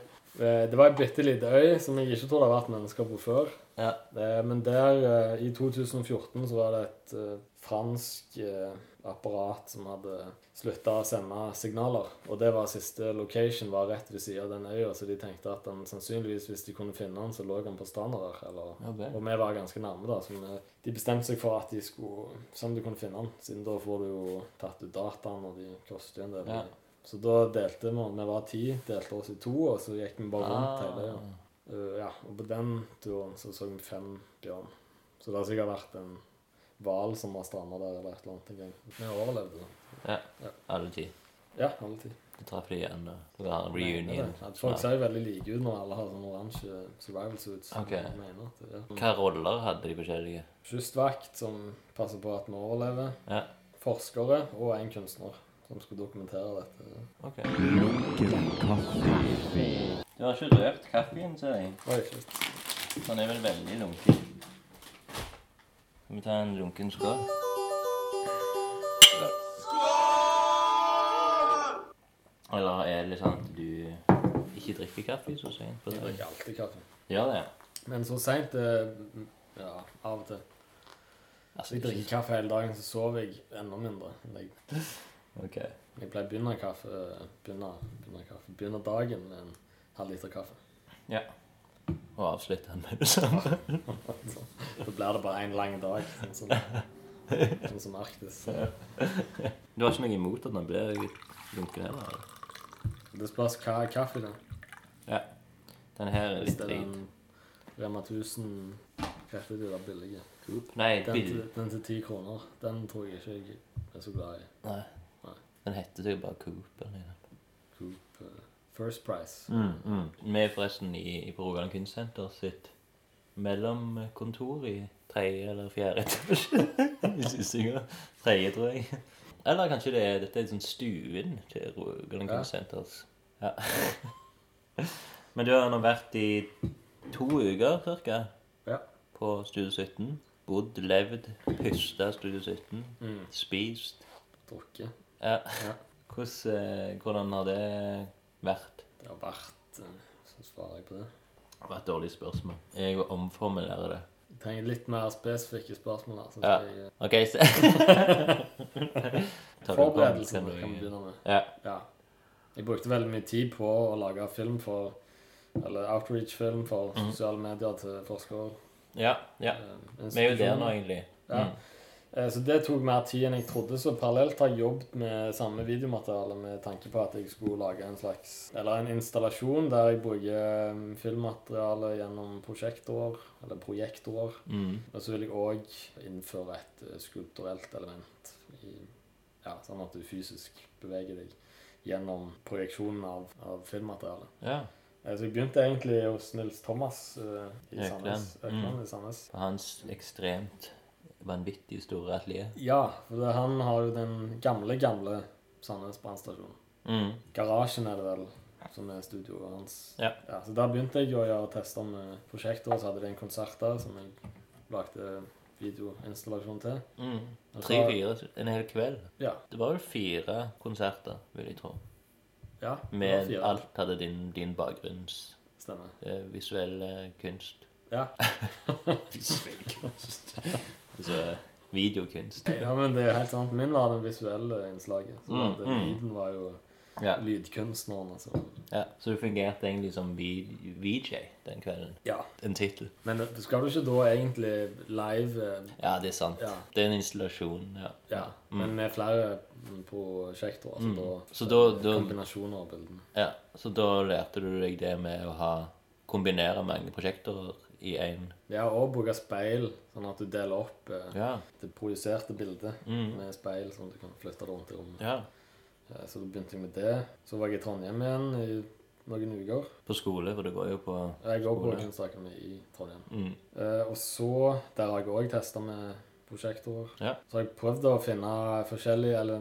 C: Eh, Det var ei bitte lita øy som jeg ikke tror det har vært mennesker på før.
B: Ja.
C: Eh, Men der, eh, i 2014, så var det et eh, fransk eh, apparat som hadde slutta å sende signaler. Og det var siste location, var rett ved siden av den øya, så de tenkte at han sannsynligvis, hvis de kunne finne han, så lå han på stranda der. Eller,
B: Ja vel.
C: og vi var ganske nærme, da. Så vi, de bestemte seg for at de skulle se om de kunne finne han, siden da får du jo tatt ut dataen, og de koster jo en del.
B: Ja.
C: Så da delte vi, vi var ti, delte oss i to, og så gikk vi bare rundt
B: Ah.
C: hele øya. Eh, ja, og på den turen så så vi fem bjørn. Så det har sikkert vært en hval som har stranda der eller et eller annet en gang. Vi overlevde det.
B: Alle ti.
C: Ja, alltid.
B: Du traff de igjen da. Du har en
C: Jeg
B: reunion.
C: vet At folk
B: Ja.
C: ser jo veldig like ut når alle har sånn oransje survival suits.
B: Ok.
C: Jeg Mener at, det- ja.
B: Hva roller hadde de forskjellige?
C: Kystvakt som passer på at vi overlever.
B: Ja.
C: Forskere og en kunstner som skulle dokumentere dette.
B: Ok.
A: Lunken kaffe.
B: Du har ikke røpt kaffen, ser jeg.
C: Oi, shit.
B: Han er vel veldig lunken. Skal vi ta en lunken skål? Eller er det sånn at du ikke drikker kaffe så sent på
C: Jeg
B: dagen?
C: drikker alltid kaffe.
B: Gjør det? ja.
C: Men så seint Ja, av og til.
B: Altså,
C: Hvis jeg drikker kaffe hele dagen, så sover jeg enda mindre. enn jeg
B: Ok.
C: Jeg pleier å begynne kaffe, begynne, begynne kaffe, begynne dagen med en halv liter kaffe.
B: Ja. Og avslutte den med det samme.
C: Da blir det bare en lang dag, sånn som, sånn som Arktis.
B: Du har ikke noe imot at den blir lunken heller? eller?
C: Det spørs hva er kaffe det er.
B: Ja. Den her er
C: Hvis
B: litt
C: det er
B: drit.
C: den Rema 1000 kaffe, de der billige.
B: Nei,
C: Den
B: bill.
C: til, den til 10 kroner, den tror jeg ikke jeg er så glad i.
B: Nei.
C: Nei.
B: Den heter sikkert bare Coop. eller noe.
C: Coop eh, First Price.
B: Mm, mm. Vi er forresten i, i på Rogaland Kunstsenter sitt mellomkontor i tredje eller fjerde etasje i Sysinga. Tredje, tror jeg. Eller kanskje det er, dette er sånn stuen til Rogaland
C: Ja.
B: Kunstsenters. Ja. Men du har nå vært i to uker cirka
C: Ja.
B: på Studio 17. Bodd, levd, pusta Studio 17.
C: Mm.
B: Spist.
C: Drukket.
B: Ja.
C: Ja.
B: Hvordan, eh, hvordan har det vært?
C: Det har vært eh, Så svarer jeg på det.
B: Det var et dårlig spørsmål. Jeg må omformulere det.
C: Jeg trenger litt mer spesifikke spørsmål. her, synes
B: Ja.
C: jeg, eh,
B: OK, så Tar du opp,
C: Forberedelsen
B: kan du-
C: kan vi begynne med.
B: Ja.
C: Ja. Jeg brukte veldig mye tid på å lage film for Eller outreach-film for sosiale medier til forskere.
B: Ja, Mhm. ja.
C: eh,
B: Vi er jo der nå,
C: institusjoner.
B: egentlig.
C: Ja. Eh, Så det tok mer tid enn jeg trodde. Så parallelt har jeg jobbet med samme videomateriale med tanke på at jeg skulle lage en slags Eller en installasjon der jeg bruker mm, filmmateriale gjennom prosjektår, eller projektår.
B: Mm.
C: Og så vil jeg òg innføre et eh, skulpturelt element i Ja, sånn at du fysisk beveger deg gjennom projeksjonen av, av filmmaterialet.
B: Ja.
C: Eh, Så jeg begynte egentlig hos Nils Thomas eh, i
B: Økland.
C: Sandnes. Økland
B: Mm.
C: i Sandnes.
B: På hans ekstremt vanvittig store atelier.
C: Ja, for det, han har jo den gamle, gamle Sandnes brannstasjonen.
B: Mm.
C: Garasjen er det vel som er studioet hans.
B: Ja.
C: så der begynte jeg å gjøre tester med prosjekter, og så hadde de en konsert der som jeg lagde videoinstallasjon til.
B: Mm.
C: Og så-
B: Tre-fire en hel kveld.
C: Ja.
B: Det var vel fire konserter, vil jeg tro.
C: ja det var
B: Med
C: fire.
B: alt hadde din, din bakgrunns
C: Stemmer.
B: eh, visuelle kunst.
C: Ja.
B: Visuell kunst? altså videokunst.
C: ja, men det er helt sant. Min var den visuelle innslaget. Så
B: Mm,
C: det,
B: mm.
C: lyden var jo
B: Ja.
C: lydkunstneren, altså.
B: ja. Så du fungerte egentlig som vi- VJ den kvelden.
C: Ja.
B: En tittel.
C: Men det- skal du ikke da egentlig live eh,
B: Ja, det er sant.
C: Ja.
B: Det er en installasjon. ja.
C: Ja, men med flere prosjekter. Altså
B: Mm.
C: da,
B: Så da- da-
C: Kombinasjoner av bildene.
B: Ja, så da lærte du deg det med å ha kombinere mange prosjekter i én
C: Ja, og bruke speil, sånn at du deler opp eh,
B: ja.
C: det projiserte bildet
B: Mm.
C: med speil, sånn at du kan flytte det rundt i rommet.
B: ja.
C: Eh, Så da begynte jeg med det. Så var jeg i Trondheim igjen i noen uker.
B: På skole, for det går jo på
C: Jeg går på
B: Skole.
C: Kunstakademiet i Trondheim.
B: mm.
C: Eh, og så, der har jeg òg testa med prosjektor.
B: Ja.
C: Så har jeg prøvd å finne forskjellige, eller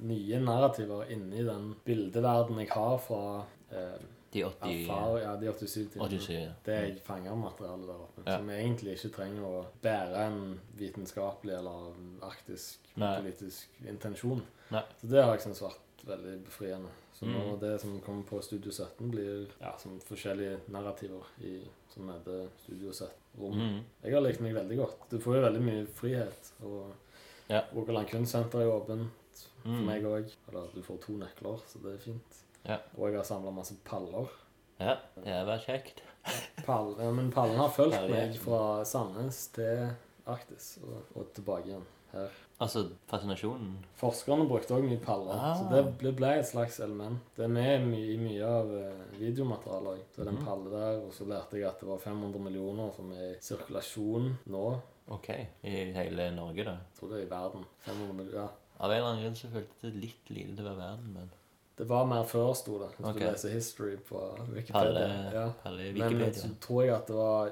C: nye narrativer inni den bildeverdenen jeg har fra eh,
B: de 80
C: erfar, ja, de 87 timene.
B: 87.
C: Det jeg fanger av materiale der oppe,
B: Ja.
C: som jeg egentlig ikke trenger å bære en vitenskapelig eller en arktisk
B: Nei.
C: politisk intensjon.
B: Nei. Mm.
C: Så det har jeg syntes vært veldig befriende. Så nå det som kommer på Studio 17, blir ja, som forskjellige narrativer i, som heter Studio 17-rom.
B: Mm.
C: Jeg har likt meg veldig godt. Du får jo veldig mye frihet. Og
B: Ja.
C: Rogaland kunstsenter er åpent for
B: Mm.
C: meg òg. Eller du får to nøkler, så det er fint.
B: Ja.
C: Og jeg har samla masse paller.
B: Ja, det er vel kjekt.
C: Pall, ja, men pallen har fulgt
B: Herlig.
C: meg fra Sandnes til Arktis og, og tilbake igjen her.
B: Altså fascinasjonen.
C: Forskerne brukte òg mye paller,
B: Ah.
C: så det ble, ble et slags element. Det er med i my- i mye av eh, videomaterialet òg. Så er det
B: Mhm.
C: en palle der, og så lærte jeg at det var 500 millioner som er i sirkulasjon nå.
B: OK. I hele Norge, da.
C: Jeg tror det er i verden. 500 millioner, ja.
B: Av en eller annen grunn så føltes det litt lite til å være verden, men
C: Det var mer før, sto det. Hvis
B: Ok.
C: du leser history på Wikipedia.
B: Palle,
C: ja.
B: Palle
C: Men
B: Eh, Wikipedia.
C: så tror jeg at det var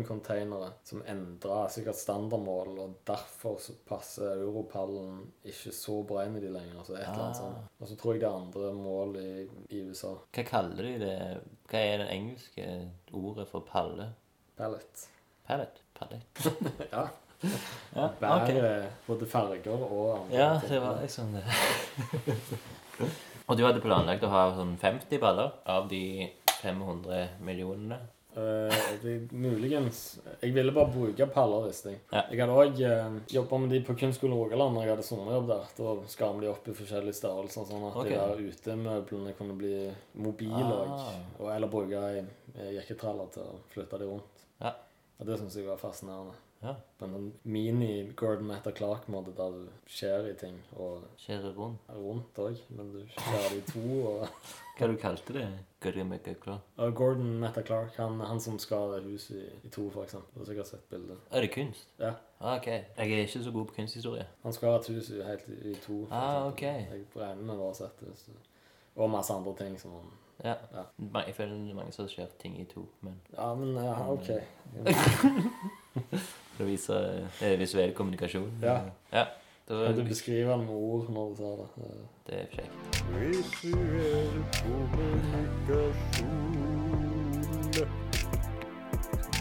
C: shippingcontainere som endra sikkert standardmål, og derfor så passer europallen ikke så bra inn i de lenger. Så et eller
B: Ah.
C: annet sånt. Og så tror jeg det er andre mål i, i USA.
B: Hva kaller de det? Hva er det engelske ordet for palle?
C: Pallet.
B: Pallet? Pallet?
C: Ja.
B: Ja,
C: Bærer
B: ok.
C: både farger og andre
B: Ja,
C: ting.
B: det var liksom det. Og du hadde planlagt å ha sånn 50 baller av de 500 millionene?
C: Eh, det, muligens. Jeg ville bare bruke paller, visste jeg.
B: Ja.
C: Jeg hadde òg uh, jobba med de på Kunstskolen Rogaland når jeg hadde sommerjobb der. Da skar vi de opp i forskjellige størrelser, sånn at
B: Ok.
C: de der utemøblene kunne bli mobile òg.
B: Ah.
C: Og eller bruke ei ei jekketraller til å flytte de rundt.
B: Ja.
C: Og det syns jeg var fascinerende.
B: Ja.
C: På en sånn mini-Gordon Matter Clark-måte der du skjærer i ting, og
B: Skjærer rundt.
C: rundt òg, men du skjærer det i to. og...
B: Hva du kalte det? Grimmegløkla?
C: Og Gordon Matta Clark, han, han som skar det huset i, i to, for eksempel. Du har sikkert sett bildet.
B: Er det kunst?
C: Ja.
B: Ah, OK. Jeg er ikke så god på kunsthistorie.
C: Han skar et hus i, helt i, i to. for
B: Ah,
C: eksempel.
B: ok.
C: Jeg regner med du har sett det. hvis du- Og masse andre ting som han
B: Ja.
C: Ja.
B: Ma- Jeg føler det er mange som har skjært ting i to, men
C: Ja, men ja, OK.
B: det viser eh, visuell kommunikasjon.
C: Ja.
B: ja. Det,
C: Kan
B: var,
C: du beskrive den med ord når du sa det? Eh,
B: det er kjekt.
A: Visuell kommunikasjon.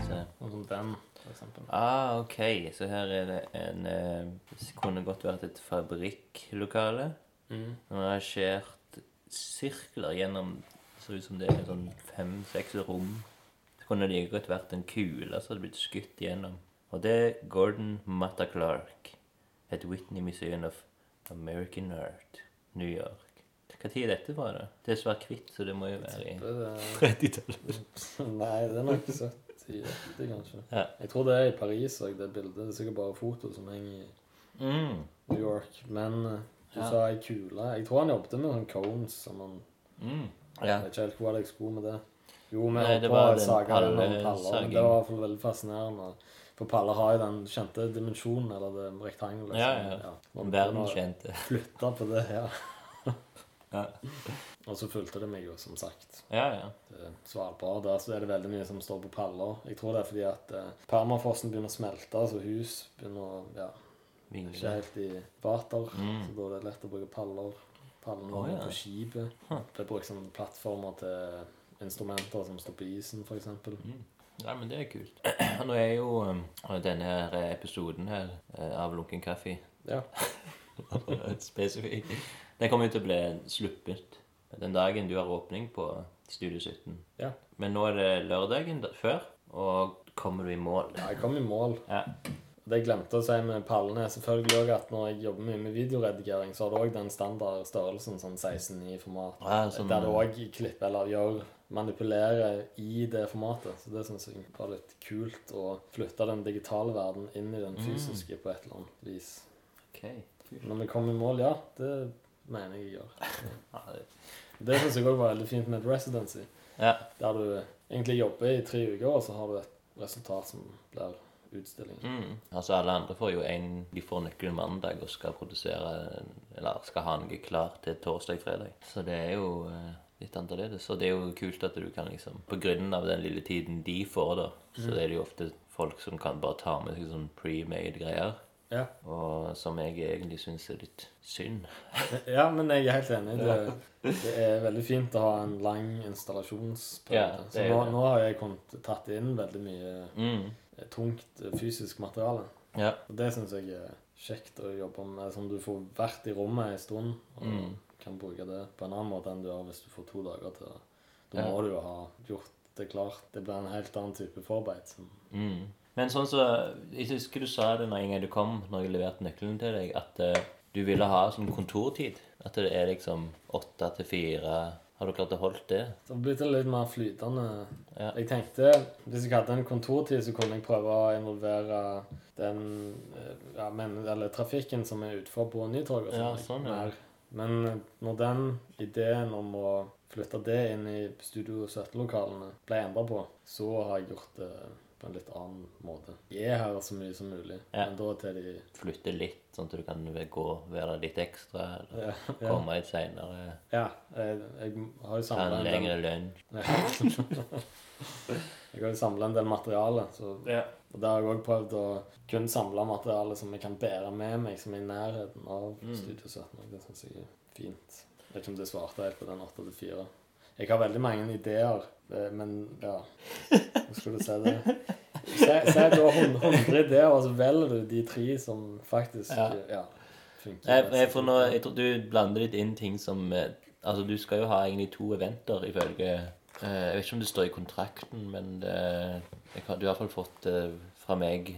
B: Så.
C: Noe sånt den, for eksempel.
B: Ah, ok. Så her er det en eh, Det kunne godt vært et fabrikklokale.
C: Mm.
B: Man har skjært sirkler gjennom Det ser ut som det er sånn fem-seks rom. Det kunne like godt vært en kule som hadde blitt skutt gjennom. Og det er Gordon Matta Clark. Et Whitney Museum of American Art. New York. Hva tid er dette fra, da? Det er svart-hvitt, så det må jo være i
C: Det er,
B: 30-tallet.
C: nei, det er nok 70, 80 kanskje.
B: Ja.
C: Jeg tror det er i Paris òg, det bildet. Det er sikkert bare foto som henger i
B: Mm.
C: New York. Men eh, du
B: Ja.
C: sa ei kule. Jeg tror han jobbet med sånn cones. Som han,
B: Mm. Ja.
C: Jeg vet ikke helt hvor jeg skulle med det. Jo, vi
B: Nei,
C: holdt
B: det
C: på
B: var
C: å
B: den
C: sage den om
B: palle-
C: paller. Men
B: saging.
C: det var i hvert fall veldig fascinerende. For paller har jo den kjente dimensjonen, eller det rektangelet.
B: Ja,
C: som-
B: ja.
C: Man
B: Verden
C: begynner å
B: kjente.
C: Flytte på det, ja.
B: Ja.
C: Og så fulgte det meg jo, som sagt.
B: Ja, ja.
C: til Svalbard. Der så er det veldig mye som står på paller. Jeg tror det er fordi at eh, permafrosten begynner å smelte, så hus begynner å ja, ikke
B: Vingle.
C: helt i vater.
B: Mm.
C: Så da er det lett å bruke paller. Pallene
B: Å, ja.
C: på skipet. Det er brukt som plattformer til instrumenter som står på isen, f.eks.
B: Mm. Nei, men det er kult. Nå er jo um, denne her episoden her eh, av Lunken kaffe
C: Ja.
B: spesifikk. Den kommer jo til å bli sluppet den dagen du har åpning på Studio 17.
C: Ja.
B: Men nå er det lørdagen da- før, og kommer du i mål?
C: ja, jeg kom i mål.
B: Ja.
C: Det jeg glemte å si med pallene, er selvfølgelig også at når jeg jobber mye med videoredigering, så har det òg den standard størrelsen, sånn 16-9-format.
B: Ja, sånn,
C: Der du òg klipper eller gjør manipulerer i det formatet. Så det syns jeg var litt kult å flytte den digitale verden inn i den
B: Mm.
C: fysiske på et eller annet vis.
B: ok.
C: Når vi kom i mål, ja, det mener jeg jeg gjør.
B: Ja, det-
C: Det syns jeg òg var veldig fint med et residency,
B: ja.
C: der du egentlig jobber i tre uker, og så har du et resultat som blir utstilling.
B: Mm. Altså Alle andre får jo en De får nøkkelen mandag og skal produsere Eller skal ha noe klar til torsdag-fredag. Så det er jo eh, litt annerledes. Og det er jo kult at du kan liksom På grunn av den lille tiden de får, da, så er det jo ofte folk som kan bare ta med seg sånn pre-made greier.
C: Ja.
B: Og som jeg egentlig syns er litt synd.
C: ja, men jeg er helt enig. Det, det er veldig fint å ha en lang
B: Ja,
C: installasjonsperiode.
B: det
C: Så
B: er
C: nå,
B: det.
C: nå har jeg kommet, tatt inn veldig mye
B: Mm.
C: eh, tungt eh, fysisk materiale.
B: Ja.
C: Og det syns jeg er kjekt å jobbe med, som du får vært i rommet en stund, og
B: Mm.
C: kan bruke det på en annen måte enn du gjør hvis du får to dager til det. Da
B: Ja.
C: må du jo ha gjort det klart. Det blir en helt annen type forarbeid. Som,
B: Mm. Men sånn så, jeg husker du sa det når en gang du kom, når jeg leverte nøkkelen til deg, at eh, du ville ha sånn kontortid. At det er liksom åtte til fire. Har du klart å holde det?
C: så blir det litt mer flytende.
B: Ja.
C: Jeg tenkte hvis jeg hadde en kontortid, så kunne jeg prøve å involvere den eh, ja, men, eller trafikken som er utenfor på Nytorget.
B: Ja,
C: og
B: sånn, ja.
C: mer. Men når den ideen om å flytte det inn i Studio 17-lokalene ble endra på, så har jeg gjort det på en litt annen måte. Jeg er her så mye som mulig,
B: Ja.
C: men da til de
B: Flytte litt, sånn at du kan ve- gå, være der litt ekstra, eller
C: Ja. ja.
B: komme litt seinere.
C: ja jeg, jeg har jo
B: Ta en
C: samla en del
B: lengre lunsj.
C: Ja. Jeg har jo samla en del materiale, så Og der har jeg òg prøvd å kun samle materiale som jeg kan bære med meg, som er i nærheten av
B: Mm.
C: Studio 17. og Det syns jeg er fint. Jeg vet ikke om det svarte helt på den 8 til 4. Jeg har veldig mange ideer, eh, men ja Hvordan skulle du si det? Si si du har 100 ideer, og så velger du de tre som faktisk ja.
B: Ja.
C: funker.
B: Jeg, jeg, får nå, jeg tror du blander litt inn ting som eh, Altså, du skal jo ha egentlig to eventer ifølge eh, Jeg vet ikke om det står i kontrakten, men det, jeg har, du har i hvert fall fått det fra meg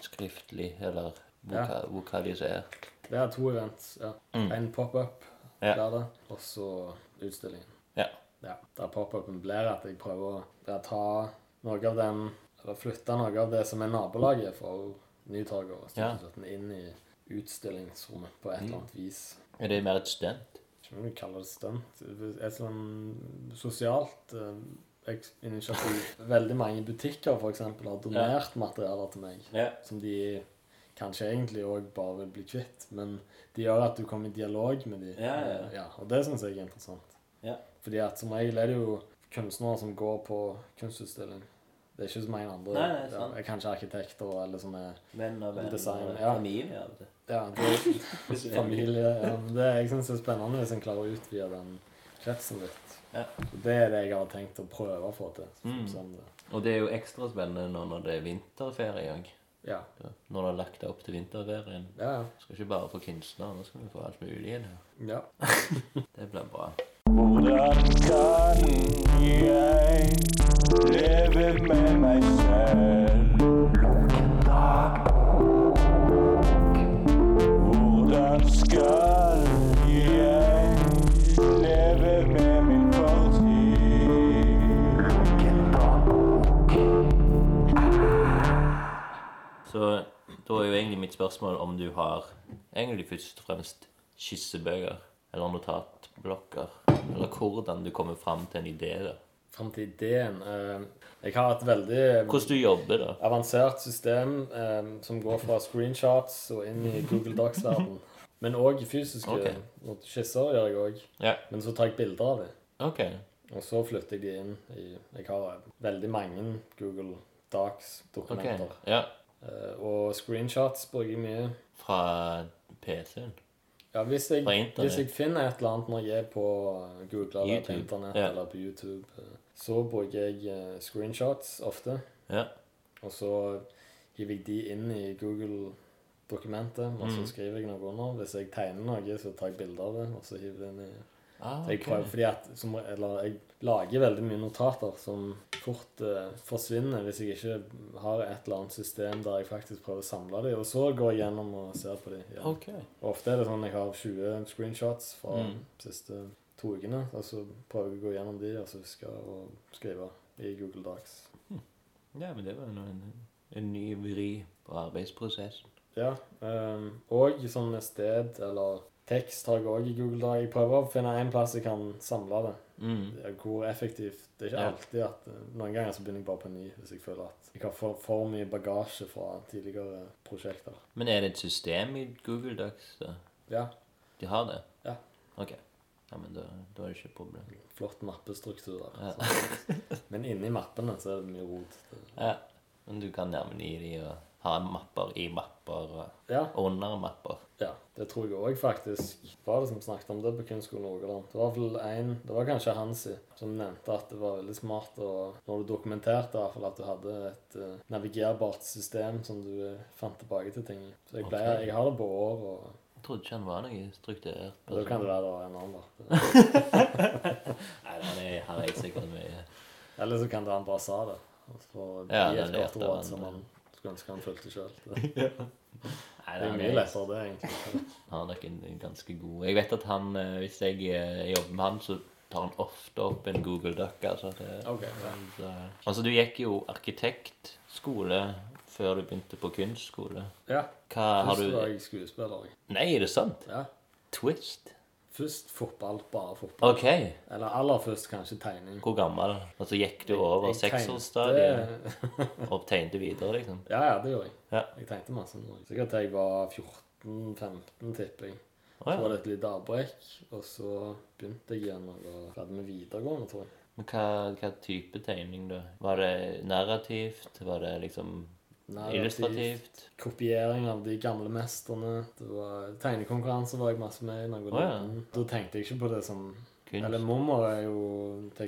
B: skriftlig, eller hvor,
C: Ja.
B: hva- hvor hva de er.
C: Det er to event. ja.
B: Mm.
C: En pop-up,
B: Ja.
C: blir det, og så utstillingen.
B: Ja.
C: ja, der pop-upen blir at jeg prøver å ja, ta noe av den Eller flytte noe av det som er nabolaget for Nytorget og
B: Ja. Mm.
C: Stortingsretten inn i utstillingsrommet på et eller annet vis.
B: Er det mer et stunt?
C: Ikke om du kaller det stunt. Et sånn sosialt eh, eks- initiativ. Veldig mange butikker for eksempel, har donert materialer til meg
B: Ja.
C: som de kanskje egentlig òg bare vil bli kvitt, men de gjør at du kommer i dialog med de.
B: Ja, ja, ja.
C: Eh, og det syns jeg er interessant.
B: Ja.
C: Fordi at som regel er det jo kunstnere som går på kunstutstilling. Det er ikke så mange andre.
B: Nei, nei, sant.
C: Ja, kanskje arkitekter eller som er
B: Venner, venner,
C: Design, ja.
B: familie. av det.
C: ja, det, familie. Ja. men Det er, jeg synes det er spennende hvis en klarer å utvide den kretsen litt.
B: Ja.
C: Så Det er det jeg har tenkt å prøve å få til.
B: Mm.
C: Sånn det-
B: Og det er jo ekstra spennende nå når det er vinterferie òg.
C: Ja.
B: Når du har lagt deg opp til vinterferien.
C: Ja, ja.
B: Du skal ikke bare få kunstnere, nå skal du få alt mulig inn her.
C: ja.
B: Det blir bra.
D: Hvordan kan jeg leve med meg selv? Hvordan skal jeg leve med min fortid?
B: Så da er jo egentlig mitt spørsmål om du har egentlig først og fremst skissebøker eller notatblokker, eller hvordan du kommer fram til en idé. da.
C: Fram til ideen. eh, Jeg har et veldig
B: Hvordan du jobber, da.
C: avansert system eh, som går fra screenshots og inn i Google Docs-verden. Men òg fysiske
B: Ok.
C: og skisser gjør jeg òg.
B: Ja,
C: Men så tar jeg bilder av dem.
B: ok.
C: Og så flytter jeg de inn i Jeg har veldig mange Google
B: ok.
C: Docs-dokumenter.
B: Ja,
C: Eh, og screenshots bruker jeg mye.
B: Fra PC-en.
C: Ja, hvis jeg,
B: Fra internett.
C: hvis jeg finner et eller annet når jeg er på Google eller
B: YouTube,
C: på internett
B: ja.
C: eller på YouTube, eh, så bruker jeg eh, screenshots ofte.
B: Ja.
C: Og så hiver jeg de inn i Google-dokumentet, og
B: Mm.
C: så skriver jeg noe under. Hvis jeg tegner noe, så tar jeg bilder av det, og så hiver jeg det inn i
B: Ah,
C: Så jeg
B: ok.
C: prøver fordi at som, Eller jeg lager veldig mye notater som fort eh, forsvinner hvis jeg ikke har et eller annet system der jeg faktisk prøver å samle dem, og så går jeg gjennom og ser på dem. Ja.
B: Ok.
C: Og ofte er det sånn jeg har 20 screenshots fra de siste to ukene, og så prøver jeg å gå gjennom de, og så huske å skrive i Google Docs.
B: Ja, men det var jo en, en ny vri på arbeidsprosessen.
C: Ja, ehm, og sånn sted eller tekst har jeg òg i Google Docs. Jeg prøver å finne en plass jeg kan samle det.
B: Mm.
C: Ja, Hvor effektivt Det er ikke
B: Ja.
C: alltid at Noen ganger så begynner jeg bare på ny hvis jeg føler at jeg har for, for mye bagasje fra tidligere prosjekter.
B: Men er det et system i Google Docs? da?
C: Ja.
B: De har det?
C: Ja.
B: Ok. Ja, men da, da er det ikke et problem.
C: Flott mappestruktur der.
B: Ja.
C: Så. Men inni mappene så er det mye rot. Det-
B: Ja. Men du kan nærme deg de og ha mapper i mapper og
C: Ja,
B: under mapper.
C: ja, det tror jeg òg, faktisk. Hva var det som snakket om det på Kunstskolen Rogaland? Det var vel en, det var kanskje Hansi som nevnte at det var veldig smart å, når du dokumenterte i hvert fall at du hadde et eh, navigerbart system som du eh, fant tilbake til ting i. Så jeg, pleier,
B: Ok.
C: jeg har det på år. og...
B: Jeg trodde ikke han var noe strukturert.
C: Ja, Da kan
B: person.
C: det være det var en annen da.
B: Nei, han er, han er sikkert mye
C: Eller så kan det han bare sa det. Og så får
B: Ja,
C: gi
B: det
C: et
B: er
C: godt
B: lettere
C: råd
B: enn
C: som
B: det.
C: han skulle ønske han fulgte sjøl. Det
B: Nei,
C: det er
B: han
C: mye lettere, det, egentlig.
B: Han er nok en, en ganske god Jeg vet at han, eh, hvis jeg eh, jobber med han, så tar han ofte opp en Google Duck. Altså, det,
C: Ok, ja.
B: så, altså du gikk jo arkitektskole før du begynte på kunstskole.
C: Ja.
B: Hva har
C: Først
B: du
C: var jeg skuespiller. jeg.
B: Nei, er det sant?
C: Ja.
B: Twist?
C: Først fotball, bare fotball.
B: OK.
C: Eller aller først kanskje tegning.
B: Hvor gammel? Og så gikk du over
C: Jeg tegnte-
B: seksårsstadiet og tegnte videre, liksom?
C: Ja, ja, det gjorde jeg.
B: Ja.
C: Jeg tenkte masse. når jeg- Sikkert til jeg var 14-15, tipper jeg.
B: Å,
C: Så var
B: ja.
C: det et lite avbrekk, og så begynte jeg igjen når jeg var ferdig med videregående, tror jeg.
B: Men hva, hva type tegning, da? Var det narrativt? Var det liksom
C: Narrativt.
B: illustrativt?
C: kopiering av de gamle mesterne. Det var Tegnekonkurranse var jeg masse med i. når jeg var
B: Å, ja.
C: liten. Da tenkte jeg ikke på det som
B: Kunst?
C: Eller mormor er jo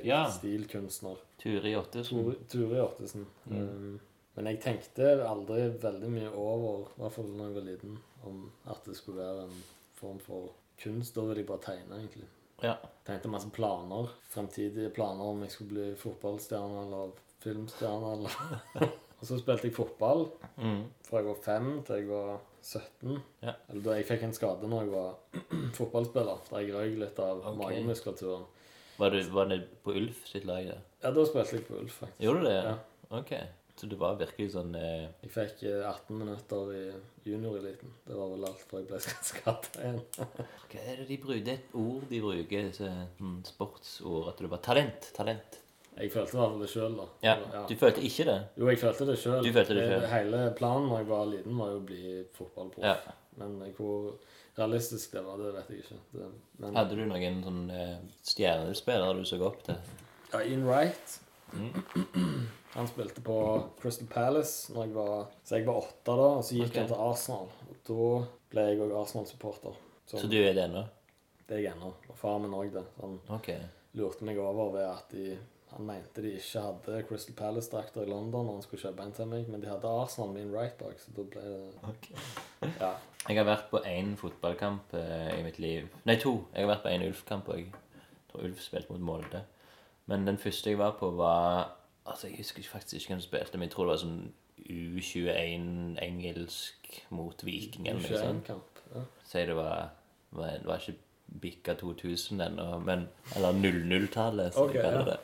B: Ja. Mm.
C: tekstilkunstner.
B: Turi Ottesen?
C: Tor- Turi Ottesen.
B: Mm.
C: Um, men jeg tenkte aldri veldig mye over, i hvert fall da jeg var liten, om at det skulle være en form for kunst. Da ville jeg bare tegne, egentlig.
B: Ja.
C: Tenkte masse planer. Fremtidige planer om jeg skulle bli fotballstjerne eller filmstjerne eller Og så spilte jeg fotball
B: Mm.
C: fra jeg var 5 til jeg var 17.
B: Ja.
C: Eller da jeg fikk en skade når jeg var fotballspiller, der jeg røyk litt av
B: Ok.
C: magemuskulaturen.
B: Var, du, var det på Ulf sitt lag, da?
C: Ja, da spilte jeg på Ulf, faktisk.
B: Gjorde du det?
C: Ja.
B: Ok. Så du var virkelig sånn eh,
C: Jeg fikk eh, 18 minutter i junioreliten. Det var vel alt før jeg ble skadet igjen.
B: Hva er det de bruker? Det er et ord de bruker, så, mm, sportsord, at du var talent. Talent.
C: Jeg følte i hvert fall det sjøl, da.
B: Ja.
C: Ja.
B: Du følte ikke det?
C: Jo, jeg følte det sjøl.
B: Du følte det selv.
C: Hele planen da jeg var liten, var jo å bli fotballproff.
B: Ja.
C: Men hvor realistisk det var, det vet jeg ikke. Det, men
B: Hadde du noen sånn eh, stjernespillere du så opp til?
C: ja, Ian Wright
B: Mm.
C: Han spilte på Crystal Palace når jeg var, så jeg var åtte da, og så gikk
B: Ok.
C: han til Arsenal. Og da ble jeg òg Arsenal-supporter. Så,
B: Så du er det ennå?
C: det er jeg ennå. Og far min òg det. Så Han
B: Ok.
C: lurte meg over ved at de, han mente de ikke hadde Crystal Palace-drakter i London når han skulle kjøpe en til meg, men de hadde Arsenal min right bak, så da ble det Ja.
B: Jeg har vært på én fotballkamp eh, i mitt liv. Nei, to. Jeg har vært på én Ulf-kamp òg. Tror Ulf spilte mot Molde. Men den første jeg var på, var Altså, Jeg husker ikke- faktisk ikke hvem som spilte, men jeg tror det var sånn U21 engelsk mot Viking eller noe sånt.
C: 21-kamp. Ja.
B: Si det var, var Det var ikke bikka 2000 ennå, men Eller 00-tallet, som
C: Ok,
B: de kaller
C: ja.